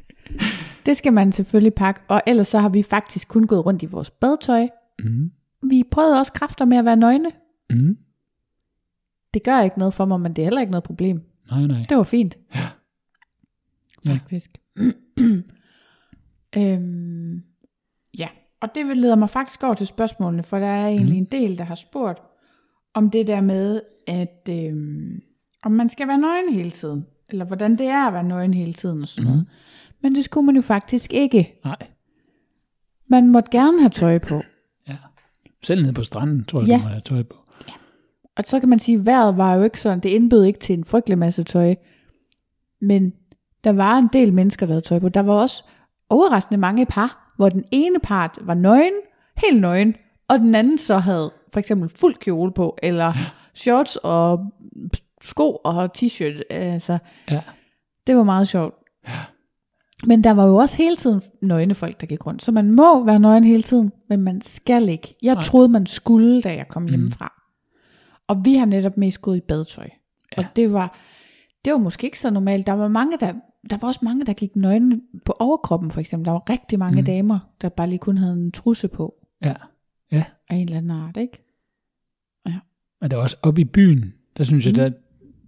A: det skal man selvfølgelig pakke. Og ellers så har vi faktisk kun gået rundt i vores badetøj.
B: Mm,
A: Vi prøvede også kræfter med at være nøgne.
B: mm,
A: Det gør ikke noget for mig, men det er heller ikke noget problem.
B: nej, nej.
A: Det var fint.
B: Ja. Ja.
A: Faktisk. øhm, ja, og det leder mig faktisk over til spørgsmålene, for der er egentlig en del, der har spurgt om det der med, at øhm, om man skal være nøgen hele tiden, eller hvordan det er at være nøgen hele tiden og sådan noget. Men det skulle man jo faktisk ikke.
B: Nej,
A: Man måtte gerne have tøj på.
B: ja. Selv nede på stranden, tror jeg,
A: Ja.
B: du må have tøj på.
A: Og så kan man sige, at vejret var jo ikke sådan, det indbød ikke til en frygtelig masse tøj. Men der var en del mennesker, der havde tøj på. Der var også overraskende mange par, hvor den ene part var nøgen, helt nøgen, og den anden så havde for eksempel fuld kjole på, eller shorts og sko og t-shirt. Altså,
B: Ja.
A: det var meget sjovt. Men der var jo også hele tiden nøgne folk, der gik rundt. Så man må være nøgen hele tiden, men man skal ikke. Jeg
B: Nej. Mm.
A: troede, man skulle, da jeg kom hjemmefra. Og vi har netop mest gået i badetøj. Ja. Og det var, det var måske ikke så normalt. Der var mange, der, der var også mange, der gik nøgne på overkroppen, for eksempel. Der var rigtig mange mm. damer, der bare lige kun havde en trusse på
B: Ja, ja.
A: af en eller anden art, ikke?
B: Men der er også oppe i byen, der synes
A: Mhm.
B: jeg, der,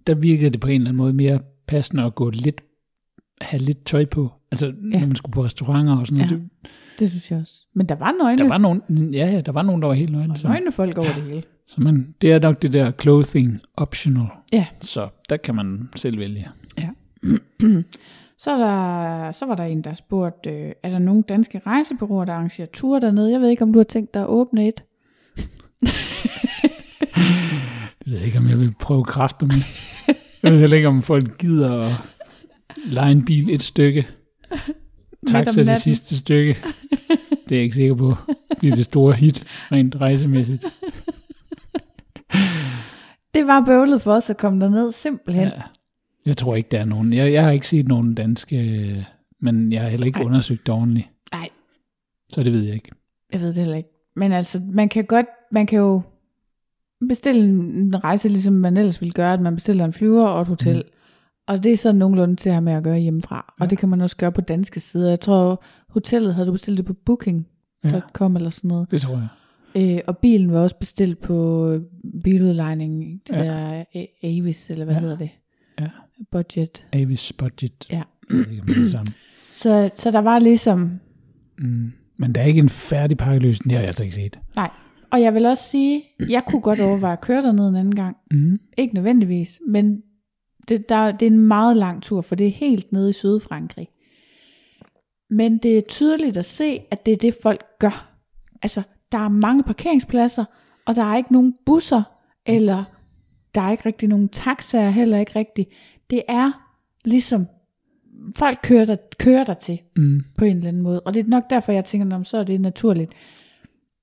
B: der virkede det på en eller anden måde mere passende at gå lidt, have lidt tøj på. Altså, ja. når man skulle på restauranter og sådan noget.
A: Ja.
B: Ja. Det,
A: Det synes jeg også. Men der var nøgne,
B: der var nogen, ja, ja, der var nogen, der var helt nøgne. Så,
A: nøgne folk over det hele.
B: så man, det er nok det der clothing optional.
A: Ja.
B: Så der kan man selv vælge.
A: Ja. så, er der, så var der en, der spurgte, øh, er der nogle danske rejsebureauer, der arrangerer ture dernede? Jeg ved ikke, om du har tænkt dig at åbne et.
B: Jeg ved ikke, om jeg vil prøve kræfter med. jeg ved heller ikke, om folk gider at lege en bil et stykke. Tak til
A: natten.
B: det sidste stykke. Det er jeg ikke sikker på. Det bliver det store hit, rent rejsemæssigt.
A: Det var bøvlet for os at komme derned, simpelthen. Ja.
B: Ja. Jeg tror ikke, der er nogen. Jeg, jeg har ikke set nogen danske, øh, men jeg har heller ikke Ej. undersøgt det ordentligt.
A: Nej,
B: Så det ved jeg ikke.
A: jeg ved det heller ikke. Men altså, man kan godt, man kan jo bestille en en rejse, ligesom man ellers ville gøre, at man bestiller en flyver og et hotel. Mm. Og det er sådan nogenlunde til at have med at gøre hjemmefra. Ja. Og det kan man også gøre på danske sider. Jeg tror, hotellet havde du bestilt det på booking.com ja. eller sådan noget.
B: Det tror jeg.
A: Øh, og bilen var også bestilt på øh, biludlejning, det ja.
B: Ja.
A: der A- Avis, eller hvad ja.
B: Ja.
A: hedder det?
B: Ja.
A: Budget.
B: Avis budget.
A: Ja.
B: Jeg ved ikke, om det er det samme.
A: Så, så der var ligesom,
B: Mm. Men der er ikke en færdig pakkeløsning. Det har jeg altså ikke set.
A: nej. Og jeg vil også sige, jeg kunne godt overveje at køre derned en anden gang.
B: Mm.
A: Ikke nødvendigvis, men det, der, det er en meget lang tur, for det er helt nede i Sydfrankrig. Men det er tydeligt at se, at det er det, folk gør. Altså, der er mange parkeringspladser, og der er ikke nogen busser, eller der er ikke rigtig nogen taxaer, heller ikke rigtig. Det er ligesom, folk kører der, kører der til
B: Mm.
A: på en eller anden måde. Og det er nok derfor, jeg tænker, om så er det naturligt.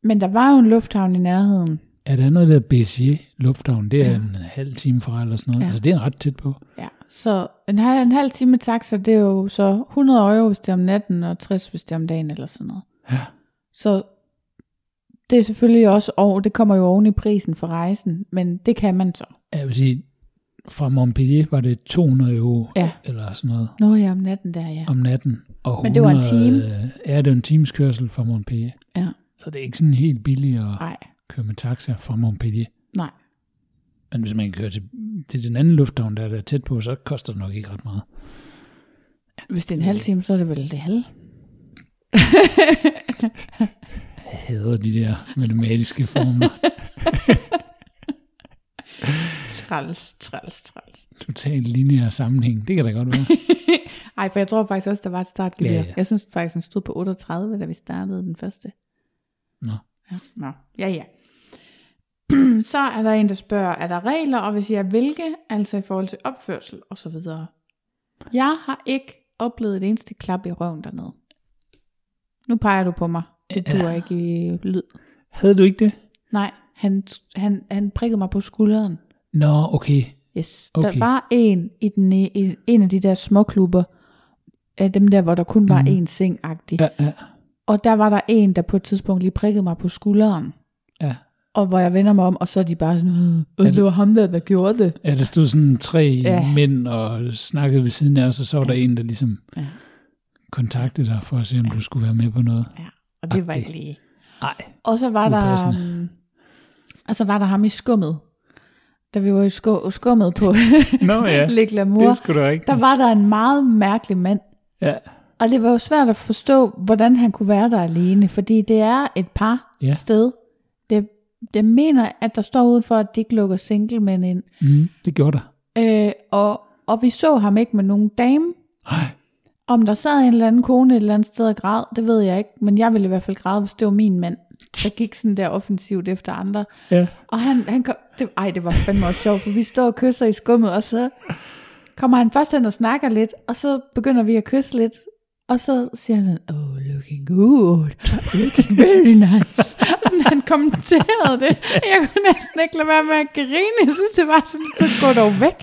A: Men der var jo en lufthavn i nærheden.
B: Er der noget, der hedder Béziers Lufthavn? Det er ja. en halv time fra eller sådan noget.
A: Ja.
B: Ja. Altså, det er en ret tæt på.
A: Ja, så en, halv, en halv time taxa, det er jo så 100 euro, hvis det er om natten, og 60, hvis det er om dagen, eller sådan noget.
B: Ja.
A: Så det er selvfølgelig også over, det kommer jo oven i prisen for rejsen, men det kan man så.
B: Jeg vil sige, fra Montpellier var det 200 euro
A: Ja.
B: eller sådan noget
A: Nå ja, om natten der, ja.
B: om natten. Og
A: Men det var en
B: 100, øh, Ja, det var en times kørsel fra Montpellier.
A: ja.
B: Så det er ikke sådan helt billigt at
A: Nej,
B: køre med taxa fra Montpellier.
A: nej.
B: Men hvis man kører til, til den anden lufthavn, der er der tæt på, så koster det nok ikke ret meget.
A: Hvis det er en halv time, så er det vel det halve.
B: Jeg hader de der matematiske formler.
A: Træls, træls, træls.
B: Total lineær sammenhæng. Det kan da godt være.
A: Ej, for jeg tror faktisk også, der var et startgebyr. Ja,
B: Ja,
A: ja.
B: ja.
A: Jeg synes faktisk, den stod på 38, da vi startede den første.
B: Nå.
A: Ja, nå. ja. ja. så er der en, der spørger, er der regler, og hvis ja, hvilke, altså i forhold til opførsel og så videre. Jeg har ikke oplevet et eneste klap i røven dernede. Nu peger du på mig. Det duer ikke i lyd.
B: Havde du ikke det?
A: Nej, han, han, han prikkede mig på skulderen.
B: Nå, okay.
A: Yes. Okay.
B: Okay.
A: Der var en i den, i, en af de der småklubber, af dem der, hvor der kun var én seng ja.
B: Mhm. Ja, ja,
A: Og der var der en, der på et tidspunkt lige prikkede mig på skulderen.
B: ja.
A: Og hvor jeg vender mig om, og så er de bare sådan, øh, øh, det var ham der, der gjorde det.
B: Ja, der stod sådan tre
A: Ja.
B: ja. mænd og snakkede ved siden af os, og så var der en, der ligesom
A: Ja.
B: ja. kontaktede dig for at se, om du skulle være med på noget.
A: Ja, og det var ikke lige.
B: Nej.
A: Og så var der,
B: Upassende.
A: um, og så var der ham i skummet. Da vi var i sku, skummet på
B: Nå ja,
A: Læk Lamour,
B: det skulle du ikke.
A: der var der en meget mærkelig mand.
B: Ja.
A: Og det var jo svært at forstå, hvordan han kunne være der alene, fordi det er et par
B: Ja.
A: sted. Det, det mener, at der står udenfor, at de ikke lukker singlemænd ind.
B: Mm, det gjorde der.
A: Øh, og, og vi så ham ikke med nogen dame.
B: Ej,
A: Om der sad en eller anden kone et eller andet sted og græd, det ved jeg ikke, men jeg ville i hvert fald græde, hvis det var min mand, der gik sådan der offensivt efter andre.
B: Ja.
A: Og han, han kom, det, ej, det var fandme også sjovt, for vi står og kysser i skummet, og så kommer han først hen og snakker lidt, og så begynder vi at kysse lidt, og så siger han sådan, oh, looking good, looking very nice. Og sådan, han kommenterede det. Jeg kunne næsten ikke lade være med at grine. Jeg synes, det var sådan, så gå dog væk.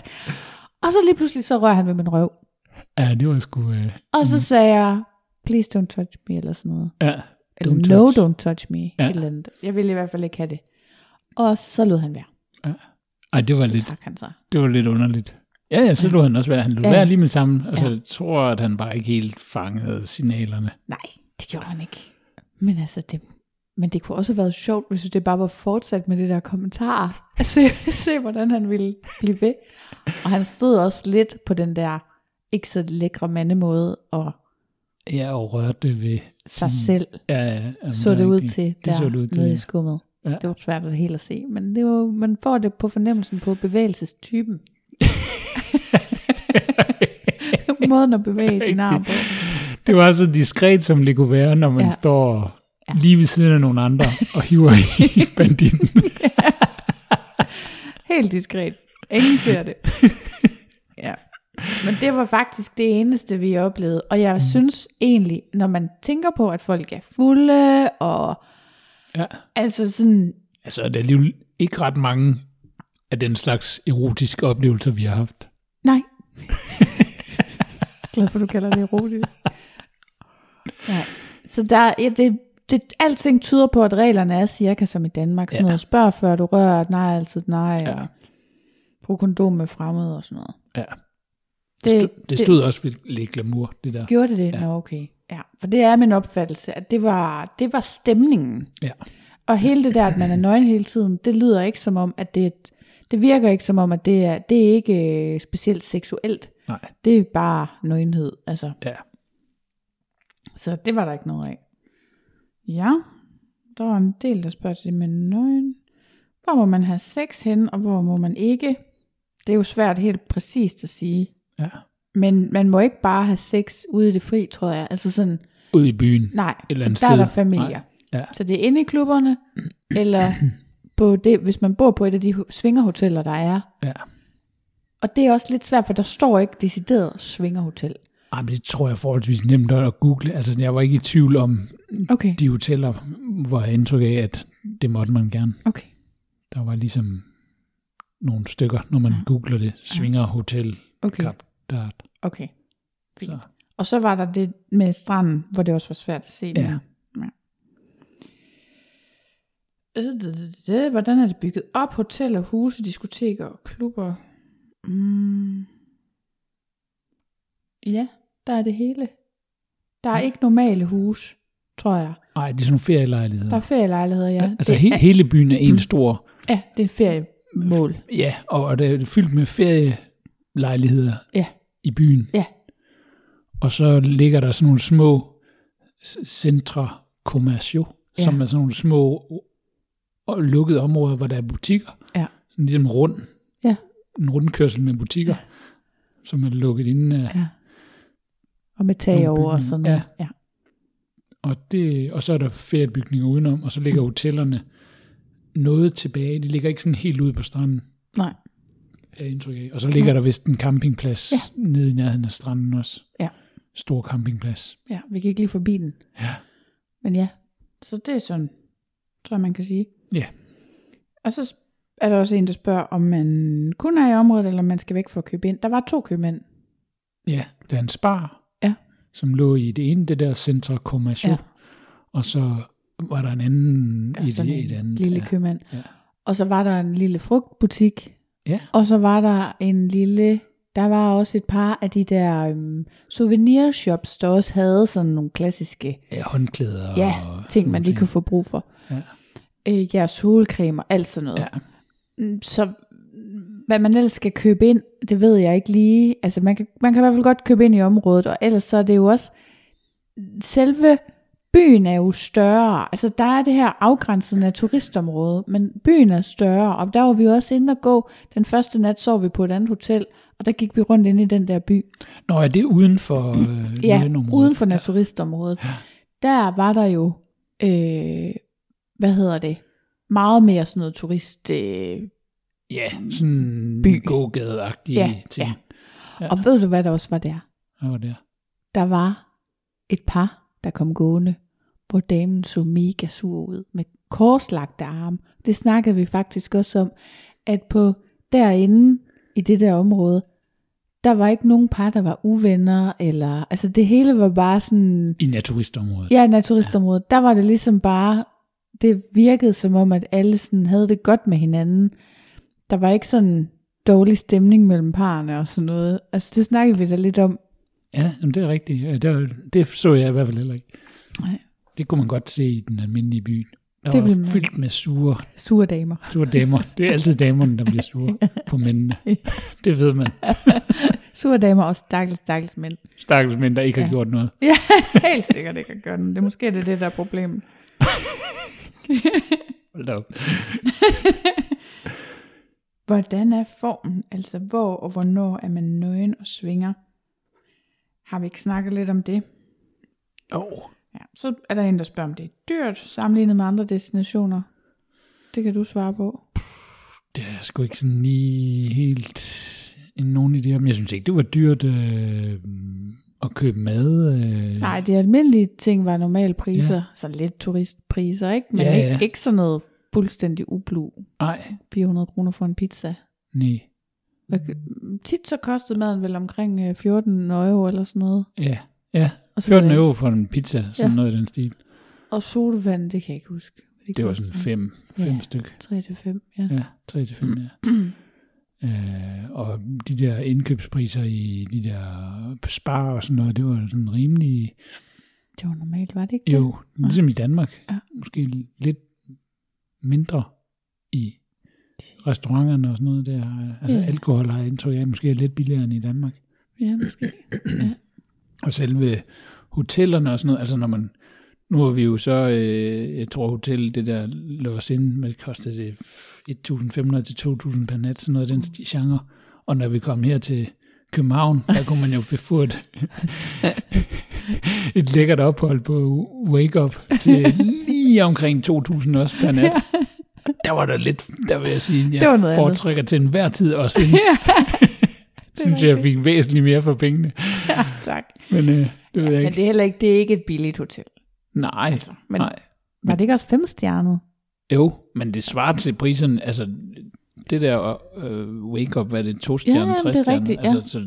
A: Og så lige pludselig, så rører han ved min røv.
B: ja, det var sgu... Øh,
A: Og så sagde jeg, please don't touch me, eller sådan noget.
B: ja,
A: Eller
B: Don't
A: no,
B: touch.
A: don't touch me. Ja.
B: Ja.
A: Et eller andet. Jeg ville i hvert fald ikke have det. Og så lod han være.
B: ej, det var
A: Så
B: lidt,
A: tak han sig.
B: det var lidt underligt. Ja, ja, så lå han også være. Han lå
A: Ja.
B: være lige med sammen. Altså, jeg tror, at han bare ikke helt fangede signalerne.
A: Nej, det gjorde han ikke. Men altså, det, men det kunne også have været sjovt, hvis det bare var fortsat med det der kommentar. Se, se hvordan han ville blive ved. Og han stod også lidt på den der ikke så lækre mandemåde og
B: Ja, og rørte ved...
A: sig
B: sin-
A: selv
B: Ja, ja, jamen,
A: så
B: der
A: det
B: er
A: ud
B: ikke-
A: til
B: Det
A: der
B: så det ud til.
A: nede i
B: ja.
A: skummet. Ja.
B: Ja.
A: Det var svært at helt at se, men det var, man får det på fornemmelsen på bevægelsestypen. Måden at bevæge sin arm på.
B: Det var så diskret, som det kunne være, når man
A: Ja.
B: ja. står lige ved siden af nogle andre og hiver i banditten.
A: Helt diskret. Ingen ser det. Ja. Men det var faktisk det eneste, vi oplevede. Og jeg synes egentlig, når man tænker på, at folk er fulde, og
B: Ja.
A: altså sådan,
B: Altså, der er alligevel ikke ret mange af den slags erotiske oplevelser, vi har haft.
A: Nej. Glad for, du kalder det erotisk. Nej. Så der, ja, det, det, alting tyder på, at reglerne er cirka som i Danmark. Sådan ja.
B: Ja.
A: noget, spørg før du rører, nej, altid nej, ja.
B: Ja.
A: og brug kondom med fremmede og sådan noget.
B: Ja.
A: Det,
B: Det, det stod også ved lidt glamour, det der.
A: Gjorde det det? Ja. Nå, okay. Ja, for det er min opfattelse, at det var, det var stemningen.
B: Ja.
A: Og hele det der, at man er nøgen hele tiden, det lyder ikke som om, at det er et, det virker ikke som om, at det er, det er ikke øh, specielt seksuelt.
B: Nej.
A: Det er bare nøgenhed, altså.
B: Ja.
A: Så det var der ikke noget af. Ja, der var en del, der spørger til det med nøgen. Hvor må man have sex hen, og hvor må man ikke? Det er jo svært helt præcist at sige.
B: ja.
A: Men man må ikke bare have sex ude i det fri, tror jeg. Altså sådan,
B: Ude i byen.
A: nej,
B: eller
A: for
B: andet
A: der er
B: sted.
A: der familier.
B: Nej, ja.
A: Så det er inde i klubberne, eller på det, hvis man bor på et af de hu- svingerhoteller, der er.
B: Ja.
A: Og det er også lidt svært, for der står ikke decideret svingerhotel.
B: Ej, men det tror jeg forholdsvis nemt at google. Altså, jeg var ikke i tvivl om
A: Okay,
B: Mm. de hoteller, hvor jeg indtryk af, at det måtte man gerne.
A: okay.
B: Der var ligesom nogle stykker, når man googler det. Svinger Hotel
A: Okay.
B: Kap Dart.
A: Okay. Fint.
B: Så.
A: Og så var der det med stranden, hvor det også var svært at se.
B: Ja.
A: men- ja. Øh, det, det, det. Hvordan er det bygget op? Hoteller, huse, diskoteker og klubber. Mm. Ja, der er det hele. Der er ikke normale huse, tror jeg.
B: Ej, det er sådan nogle ferielejligheder.
A: Der er ferielejligheder, ja.
B: altså
A: det,
B: he-
A: er, Mm.
B: hele byen er en stor,
A: ja, det er feriemål.
B: ja, og og det er fyldt med ferielejligheder
A: Ja,
B: i byen.
A: ja.
B: Og så ligger der sådan nogle små s- centre commercio,
A: Ja.
B: ja. som er sådan nogle små og lukkede områder, hvor der er butikker.
A: Ja.
B: Sådan ligesom rund,
A: Ja.
B: en rundkørsel med butikker, ja. som er lukket øh. inden af,
A: Og med tag
B: Nogle
A: over og
B: bygninger,
A: sådan noget.
B: ja.
A: ja.
B: Og, det, og så er der feriebygninger udenom, og så ligger hotellerne noget tilbage. De ligger ikke sådan helt ude på stranden,
A: Nej.
B: er jeg indtryk af. Og så ligger der vist en campingplads ja. nede i nærheden af stranden også.
A: Ja.
B: Stor campingplads.
A: Ja, vi gik lige forbi den.
B: Ja.
A: Men ja, så det er sådan, tror jeg, man kan sige.
B: Ja.
A: Og så er der også en, der spørger, om man kun er i området, eller om man skal væk for at købe ind. Der var to købmænd.
B: Ja, der er en spar,
A: Ja.
B: som lå i det ene, det der Centre Commercial,
A: Ja.
B: ja. og så var der en anden
A: Der
B: i
A: er sådan
B: det, et
A: en
B: andet.
A: lille
B: ja.
A: købmand.
B: Ja.
A: Og så var der en lille frugtbutik.
B: Ja.
A: Og så var der en lille... Der var også et par af de der øhm, souvenirshops, der også havde sådan nogle klassiske
B: ja, håndklæder.
A: ja,
B: og
A: ting, man
B: sådan
A: lige kunne få brug for.
B: Ja.
A: Øh, ja, solcreme og alt sådan noget.
B: Ja.
A: Mm, Så mm, hvad man ellers skal købe ind, det ved jeg ikke lige. Altså man kan, man kan i hvert fald godt købe ind i området, og ellers så er det jo også, selve byen er jo større. Altså der er det her afgrænset af turistområde, men byen er større, og der var vi jo også inde og gå. Den første nat sov vi på et andet hotel, og der gik vi rundt inde i den der by.
B: Nå, er det uden for øh,
A: Mm. Ja,
B: lønområdet?
A: uden for naturistområdet. Ja. Der var der jo, øh, hvad hedder det, meget mere sådan noget turist... Øh,
B: Ja, sådan
A: By.
B: By. gågadeagtige
A: Ja,
B: ting.
A: ja.
B: Ja.
A: ja. Og ved du, hvad der også var der?
B: Hvad var det?
A: Der var et par, der kom gående, hvor damen så mega sur ud med korslagte arme. Det snakkede vi faktisk også om, at på derinde i det der område, der var ikke nogen par, der var uvenner, eller, altså det hele var bare sådan,
B: I naturistområdet.
A: Ja, naturistområdet. Der var det ligesom bare, det virkede som om, at alle sådan havde det godt med hinanden. Der var ikke sådan dårlig stemning mellem parerne og sådan noget. Altså det snakkede vi da lidt om.
B: ja jamen, det er rigtigt. Ja, der, det så jeg i hvert fald heller ikke.
A: Nej.
B: Det kunne man godt se i den almindelige by. Der
A: Det
B: det var
A: ville man.
B: fyldt med sure,
A: Sure damer.
B: sure damer. Det er altid damerne, der bliver sure på mændene. Det ved man.
A: Sure damer og stakkels, stakkels mænd.
B: Stakkels mænd, der ikke har gjort noget.
A: Ja, helt sikkert ikke at gøre den. Det er måske det, er det der er problemet.
B: Hold da op.
A: Hvordan er formen? Altså hvor og hvornår er man nøgen og svinger? Har vi ikke snakket lidt om det?
B: Oh.
A: Ja, så er der en, der spørger, om det er dyrt sammenlignet med andre destinationer. Det kan du svare på.
B: Det er sgu ikke sådan lige helt en nogen idé om. Jeg synes ikke, det var dyrt øh, at købe mad. Øh.
A: Nej, de almindelige ting var normale priser, ja. så lidt turistpriser, ikke? Men ja,
B: Ja,
A: ja.
B: ja.
A: Ikke, ikke sådan noget fuldstændig ublu.
B: Nej,
A: 400 kroner for en pizza.
B: Mm. nej.
A: Hvad, tit så kostede maden vel omkring øh, 14 euro eller sådan noget.
B: Ja, ja.
A: Og så ved
B: 14
A: jeg
B: euro for en pizza, sådan
A: Ja.
B: ja. noget i den stil.
A: ikke- Og sodavand, det kan jeg ikke huske. hvad
B: Det var sådan fem,
A: Ja.
B: fem styk.
A: 3 til 5, ja.
B: Ja, tre til fem, ja. Øh, og de der indkøbspriser i de der spar og sådan noget, det var sådan rimelig,
A: Det var normalt, var det ikke? det?
B: jo, ligesom i Danmark,
A: Ja.
B: måske lidt mindre i restauranterne og sådan noget der. Altså
A: Ja.
B: ja. alkohol har jeg indtryk af, måske er lidt billigere end i Danmark.
A: Ja, måske. Ja.
B: Og selve hotellerne og sådan noget, altså når man, nu har vi jo så, øh, jeg tror hotellet, det der lå os ind, men det kostede det 1.500 til 2.000 per nat, sådan noget af den sti- genre. Og når vi kom her til København, der kunne man jo få et, et lækkert ophold på Wake Up til lige omkring 2.000 også per nat. Der var der lidt, der vil jeg sige, jeg
A: Det var noget andet.
B: foretrækker til enhver tid også. Ja, synes jeg, jeg fik væsentligt mere for pengene.
A: ja tak.
B: Men øh, det ved jeg
A: Men
B: ikke.
A: det er heller ikke, det er ikke et billigt hotel.
B: Nej, altså,
A: men-
B: men... nej.
A: Var det ikke også femstjernet?
B: Jo, men det svarer til prisen, altså det der øh, wake-up, hvad er det, to stjerne,
A: Ja,
B: ja,
A: men det er
B: tre stjerne,
A: rigtigt, ja.
B: altså så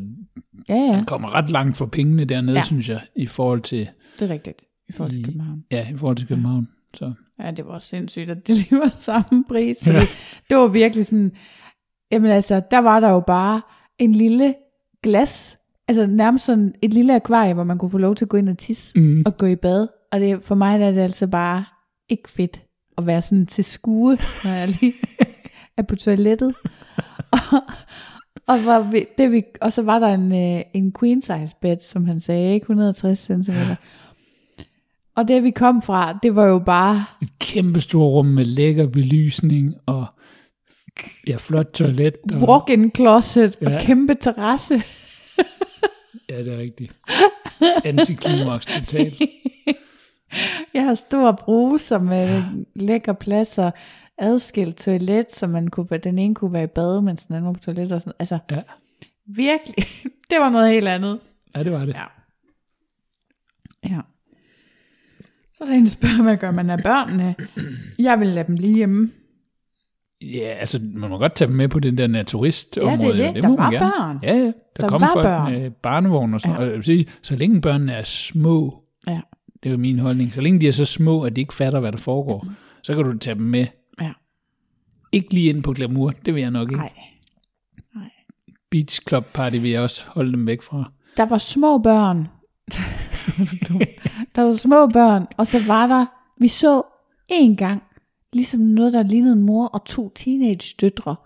A: Ja, ja,
B: den kommer ret langt for pengene dernede,
A: Ja.
B: ja. synes jeg, i forhold til,
A: det er rigtigt. I forhold til
B: I-
A: København.
B: ja, i forhold til København. Så.
A: Ja, det var også sindssygt, at det lige var samme pris. Fordi det var virkelig sådan... Jamen altså, der var der jo bare en lille glas, altså nærmest sådan et lille akvarie, hvor man kunne få lov til at gå ind og tisse
B: Mm.
A: og gå i bad. Og det, for mig der er det altså bare ikke fedt at være sådan til skue, når jeg lige er på toilettet. Og, og, var vi, det vi, og så var der en, øh, en queen size bed, som han sagde, ikke 160 cm. Og det vi kom fra, det var jo bare
B: Et kæmpe stort rum med lækker belysning og ja, flot toilet. Og,
A: walk-in closet ja.
B: Ja.
A: og kæmpe terrasse.
B: Ja, det er rigtigt. Antiklimaks totalt.
A: Jeg har stor bruser med ja. lækker pladser, adskilt toilet, så man kunne, være- den ene kunne være i bad, mens den anden var på toilet og sådan Altså,
B: Ja.
A: virkelig, det var noget helt andet.
B: Ja, det var det.
A: Ja. Ja. Så er der en, der spørger, hvad gør man af børnene? Jeg vil lade dem lige hjemme.
B: Ja, altså, man må godt tage dem med på den der naturistområde.
A: Ja, det er det.
B: må
A: Der
B: man
A: var
B: gerne.
A: børn.
B: Ja, ja. Der,
A: Der
B: der kom
A: var
B: folk
A: børn.
B: med barnevogn og sådan
A: Ja.
B: noget. Og jeg vil sige, så længe børnene er små,
A: Ja.
B: det er jo min holdning, så længe de er så små, at de ikke fatter, hvad der foregår, så kan du tage dem med.
A: Ja.
B: Ikke lige ind på glamour, det vil jeg nok ikke.
A: Nej.
B: Beach Club Party vil jeg også holde dem væk fra.
A: Der var små børn. der var små børn, og så var der, vi så en gang, ligesom noget, der lignede en mor og to teenage-døtre.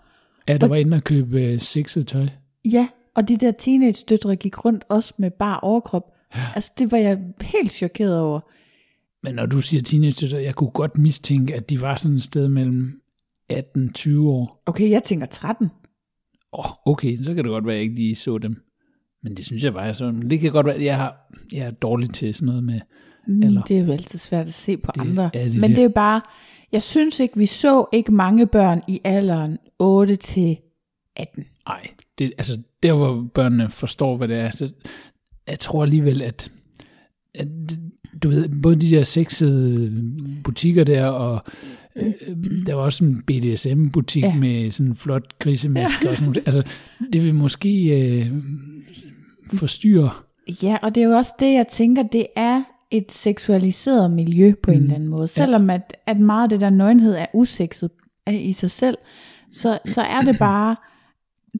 B: Ja, der var inde og købe øh, sexet tøj.
A: Ja, og de der teenage-døtre gik rundt også med bare overkrop. Ja. Altså, det var jeg helt chokeret over.
B: Men når du siger teenage, jeg kunne godt mistænke, at de var sådan et sted mellem 18-20 år.
A: Okay, jeg tænker 13.
B: åh, oh, okay, så kan det godt være, at jeg ikke lige så dem. Men det synes jeg bare, så, det kan godt være, at jeg, har, jeg er dårlig til sådan noget med,
A: Eller,
B: Eller-
A: Mm, det er jo altid svært at se på det, andre.
B: er det
A: Men
B: der.
A: det er bare, jeg synes ikke, vi så ikke mange børn i alderen 8 til 18.
B: nej, det, altså der hvor børnene forstår, hvad det er, så jeg tror alligevel, at, at du ved, både de der sexede butikker der, og øh, der var også en BDSM-butik
A: Ja.
B: ja. med sådan en flot grisemaske ja. og sådan noget. Altså, det vil måske øh, forstyrre
A: Ja, og det er jo også det, jeg tænker, det er et seksualiseret miljø på mm. en eller anden måde. Selvom at, at meget af det der nøgenhed er usekset øh, i sig selv, så, så er det bare,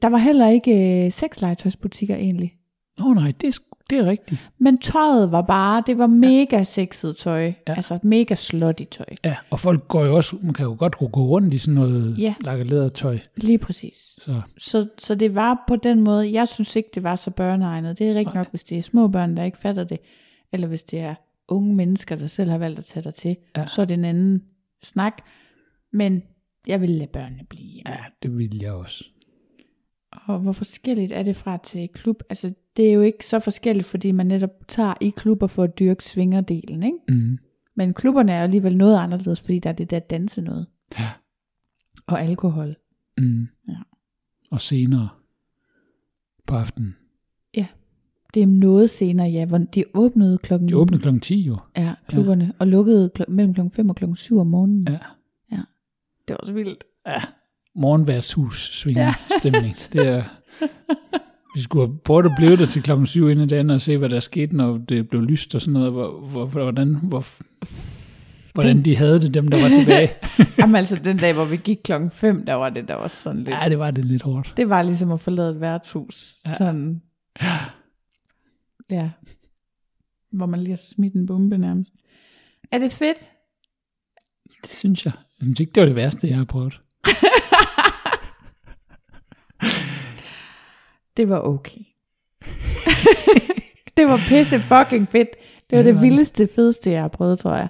A: der var heller ikke øh, sexlegetøjsbutikker egentlig.
B: Åh oh, nej, det er, sgu- det er rigtigt.
A: Men tøjet var bare, det var mega sexet tøj. Ja. Altså mega slutty tøj.
B: Ja, og folk går jo også, man kan jo godt kunne gå rundt i sådan noget
A: Ja.
B: ja. lakket lædertøj.
A: Lige præcis.
B: Så
A: Så, så det var på den måde, jeg synes ikke, det var så børneegnet. Det er rigtigt nok, hvis det er små børn, der ikke fatter det, eller hvis det er unge mennesker, der selv har valgt at tage dig til, ja. så er det en anden snak. Men jeg vil lade børnene blive hjemme.
B: ja, det vil jeg også.
A: Og hvor forskelligt er det fra til klub? Altså, det er jo ikke så forskelligt, fordi man netop tager i klubber for at dyrke svingerdelen, ikke?
B: Mm.
A: Men klubberne er jo alligevel noget anderledes, fordi der er det der danse noget.
B: Ja.
A: Og alkohol.
B: Mm.
A: Ja.
B: Og senere på aftenen.
A: Det er noget senere, ja. Hvor de åbnede klokken...
B: De åbner klokken 10 jo.
A: Ja, klubberne. Ja. Og lukkede kl- mellem klokken 5 og klokken 7 om morgenen.
B: Ja.
A: Det var også vildt.
B: ja. Morgenværtshus svinger ja. stemning. Det er, vi skulle have prøvet at blive der til klokken 7 inden dagen og se, hvad der skete, når det blev lyst og sådan noget. Hvor, hvor, hvordan, hvor, hvordan de havde det, dem der var tilbage.
A: Jamen altså, den dag, hvor vi gik klokken 5, der var det der også sådan lidt...
B: ja, det var det lidt hårdt.
A: Det var ligesom at forlade et værtshus. Ja. Sådan... Ja. Hvor man lige har smidt en bombe nærmest. Er det fedt?
B: Det synes jeg. Jeg synes ikke, det var det værste, jeg har prøvet.
A: Det var okay. det var pisse fucking fedt. Det var det vildeste, fedeste, jeg har prøvet, tror jeg.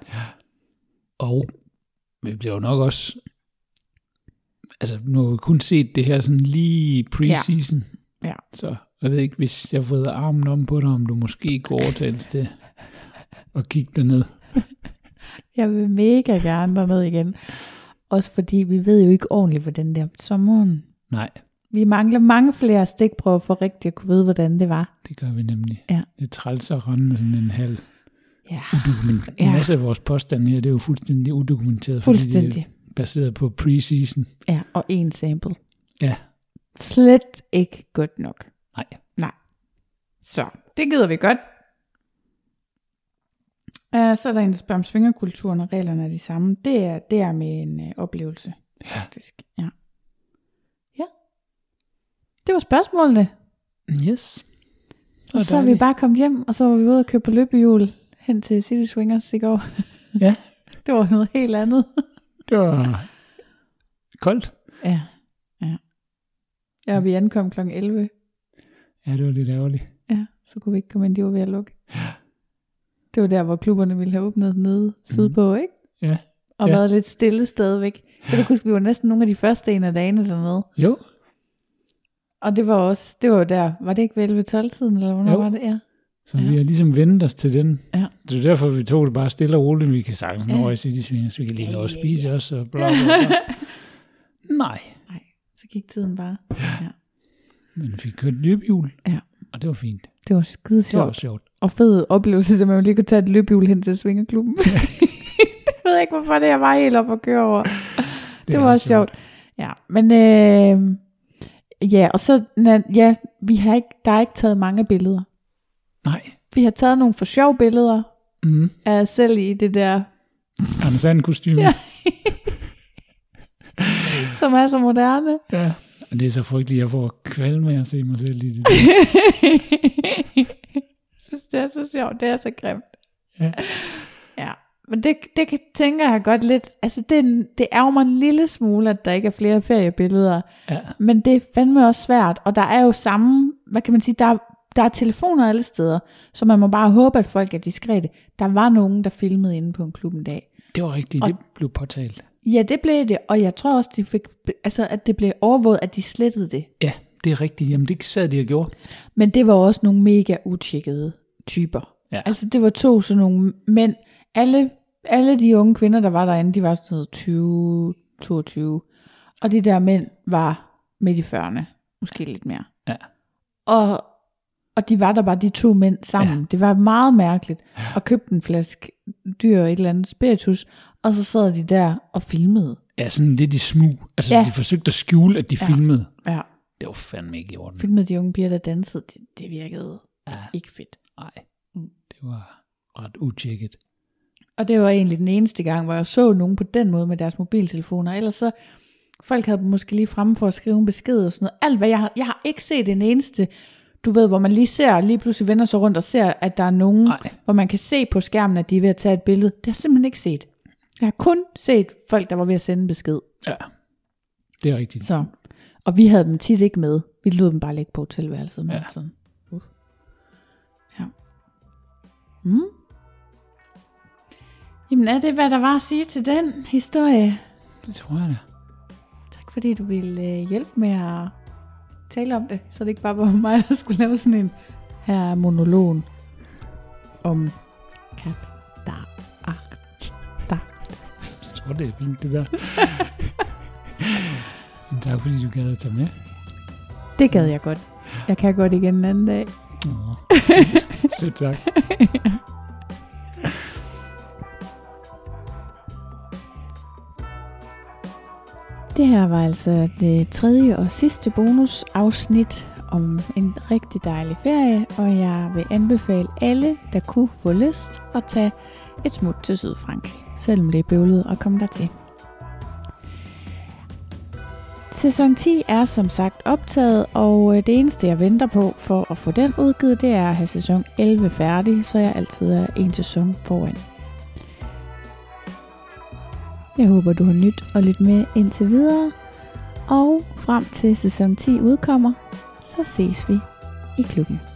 B: Og vi bliver jo nok også... Altså, nu har vi kun set det her sådan lige pre-season.
A: Ja. Ja.
B: Så jeg ved ikke, hvis jeg vrider armen om på dig, om du måske kunne overtales til at kigge derned.
A: Jeg vil mega gerne derned igen. Også fordi vi ved jo ikke ordentligt, hvordan det er om sommeren.
B: Nej,
A: Vi mangler mange flere stikprøver for rigtigt at kunne vide, hvordan det var.
B: det gør vi nemlig.
A: Ja.
B: Det er træls at rende med sådan en halv.
A: Ja,
B: Men
A: Ja.
B: en masse af vores påstande her, det er jo fuldstændig udokumenteret. Fordi
A: fuldstændig.
B: det er baseret på pre-season.
A: Ja, og en sample.
B: Ja,
A: Slet ikke godt nok.
B: nej.
A: Nej. Så, det gider vi godt. Uh, så er der en, der spørger om svingerkulturen, og reglerne er de samme. Det er, det er med en uh, oplevelse, ja. faktisk. Ja. ja. Det var spørgsmålene.
B: Yes.
A: Og så er vi bare kommet hjem, og så var vi ude og køre på løbehjul hen til City Swingers i går.
B: Ja,
A: Det var noget helt andet.
B: det var koldt.
A: Ja. Ja, ja og vi ankom kl. 11.
B: Ja, det var lidt ærgerligt.
A: Ja, så kunne vi ikke komme ind, de var ved at lukke. Det var der, hvor klubberne ville have åbnet nede sydpå, ikke?
B: Mhm. Ja.
A: Og
B: Ja.
A: været lidt stille stadigvæk. Jeg kan ikke huske, vi var næsten nogle af de første en af dagene dernede.
B: Jo,
A: Og det var også, det var jo der, var det ikke ved 11-12-tiden, eller hvornår
B: Jo.
A: var det? Ja.
B: Så
A: Ja.
B: ja. vi har ligesom vendt os til den.
A: Ja.
B: Det er derfor, vi tog det bare stille og roligt. Vi kan sagtens
A: Ja.
B: nå i City Swingers. Vi kan lige
A: Ja,
B: nå at
A: ja,
B: spise os og bla, bla, bla. Nej,
A: Nej, så gik tiden bare. Ja.
B: men vi fik kørt løbehjul.
A: Ja.
B: Og det var fint.
A: Det var skide
B: Det var
A: sjovt.
B: sjovt.
A: Og fed oplevelse, at man lige kunne tage et løbehjul hen til Svingerklubben. jeg ved ikke, hvorfor det er mig helt op at køre over. Det, det
B: er
A: var også sjovt. Ja, men øh, ja, og så, na- ja, vi har ikke, der er ikke taget mange billeder.
B: Nej.
A: Vi har taget nogle for sjov billeder
B: Mm.
A: af os selv i det der,
B: Anders Sand kostyme.
A: Ja. som er så moderne.
B: ja. Og det er så frygteligt, jeg får kvalme med at se mig selv i det.
A: synes, det er så sjovt, det er så grimt.
B: Ja.
A: ja. Men det, det kan- tænker jeg godt lidt, altså det, er en- det ærger mig en lille smule, at der ikke er flere feriebilleder,
B: Ja.
A: men det er fandme også svært, og der er jo samme, hvad kan man sige, der, der er telefoner alle steder, så man må bare håbe, at folk er diskrete. Der var nogen, der filmede inde på en klub en dag.
B: Det var rigtigt. Det blev påtalt.
A: Ja, det blev det, og jeg tror også, de fik, altså, at det blev overvåget, at de slettede det.
B: Ja, det er rigtigt. Jamen, det sad de og gjorde.
A: Men det var også nogle mega utjekkede typer.
B: Ja.
A: Altså det var to sådan nogle mænd. Alle, alle de unge kvinder, der var derinde, de var sådan noget 20, 22. Og de der mænd var midt i 40'erne. Måske lidt mere.
B: Ja.
A: Og, og de var der bare de to mænd sammen. Ja. Det var meget mærkeligt. Og købte en flaske dyr og et eller andet spiritus. Og så sad de der og filmede.
B: Ja, sådan lidt i smug. Altså,
A: Ja.
B: ja. de forsøgte at skjule, at de ja. filmede.
A: Ja.
B: Det var fandme ikke i orden.
A: Filmede de unge piger, der dansede. Det, det virkede
B: Ja,
A: ikke fedt.
B: nej. Det var ret utjekket.
A: Og det var egentlig den eneste gang, hvor jeg så nogen på den måde med deres mobiltelefoner. Ellers så, folk havde dem måske lige fremme for at skrive en besked og sådan noget. Alt hvad jeg har, jeg har ikke set en eneste, du ved, hvor man lige ser, lige pludselig vender sig rundt og ser, at der er nogen,
B: Nej.
A: hvor man kan se på skærmen, at de er ved at tage et billede. Det har jeg simpelthen ikke set. Jeg har kun set folk, der var ved at sende en besked.
B: Ja, det er rigtigt.
A: Så. Og vi havde dem tit ikke med. Vi lod dem bare ligge på tilværelset. Ja.
B: Ja.
A: Sådan. Uh. Ja. Mm. Jamen er det, hvad der var at sige til den historie.
B: Det tror jeg da.
A: Tak fordi du ville øh, hjælpe med at tale om det, så det ikke bare var mig, der skulle lave sådan en her er monologen om kap der art. Der.
B: Jeg tror, det er fint, det der. Men tak, fordi du gad at tage med.
A: Det gad jeg godt. Jeg kan godt igen en anden dag.
B: Åh, så tak.
A: Det her var altså det tredje og sidste bonusafsnit om en rigtig dejlig ferie, og jeg vil anbefale alle, der kunne få lyst, at tage et smut til Sydfrankrig, selvom det er bøvlet at komme dertil. Sæson 10 er som sagt optaget, og øh, det eneste jeg venter på for at få den udgivet, det er at have sæson 11 færdig, så jeg altid er en sæson foran. Jeg håber, du har nyt og lyttet med indtil videre. Og frem til sæson 10 udkommer, så ses vi i klubben.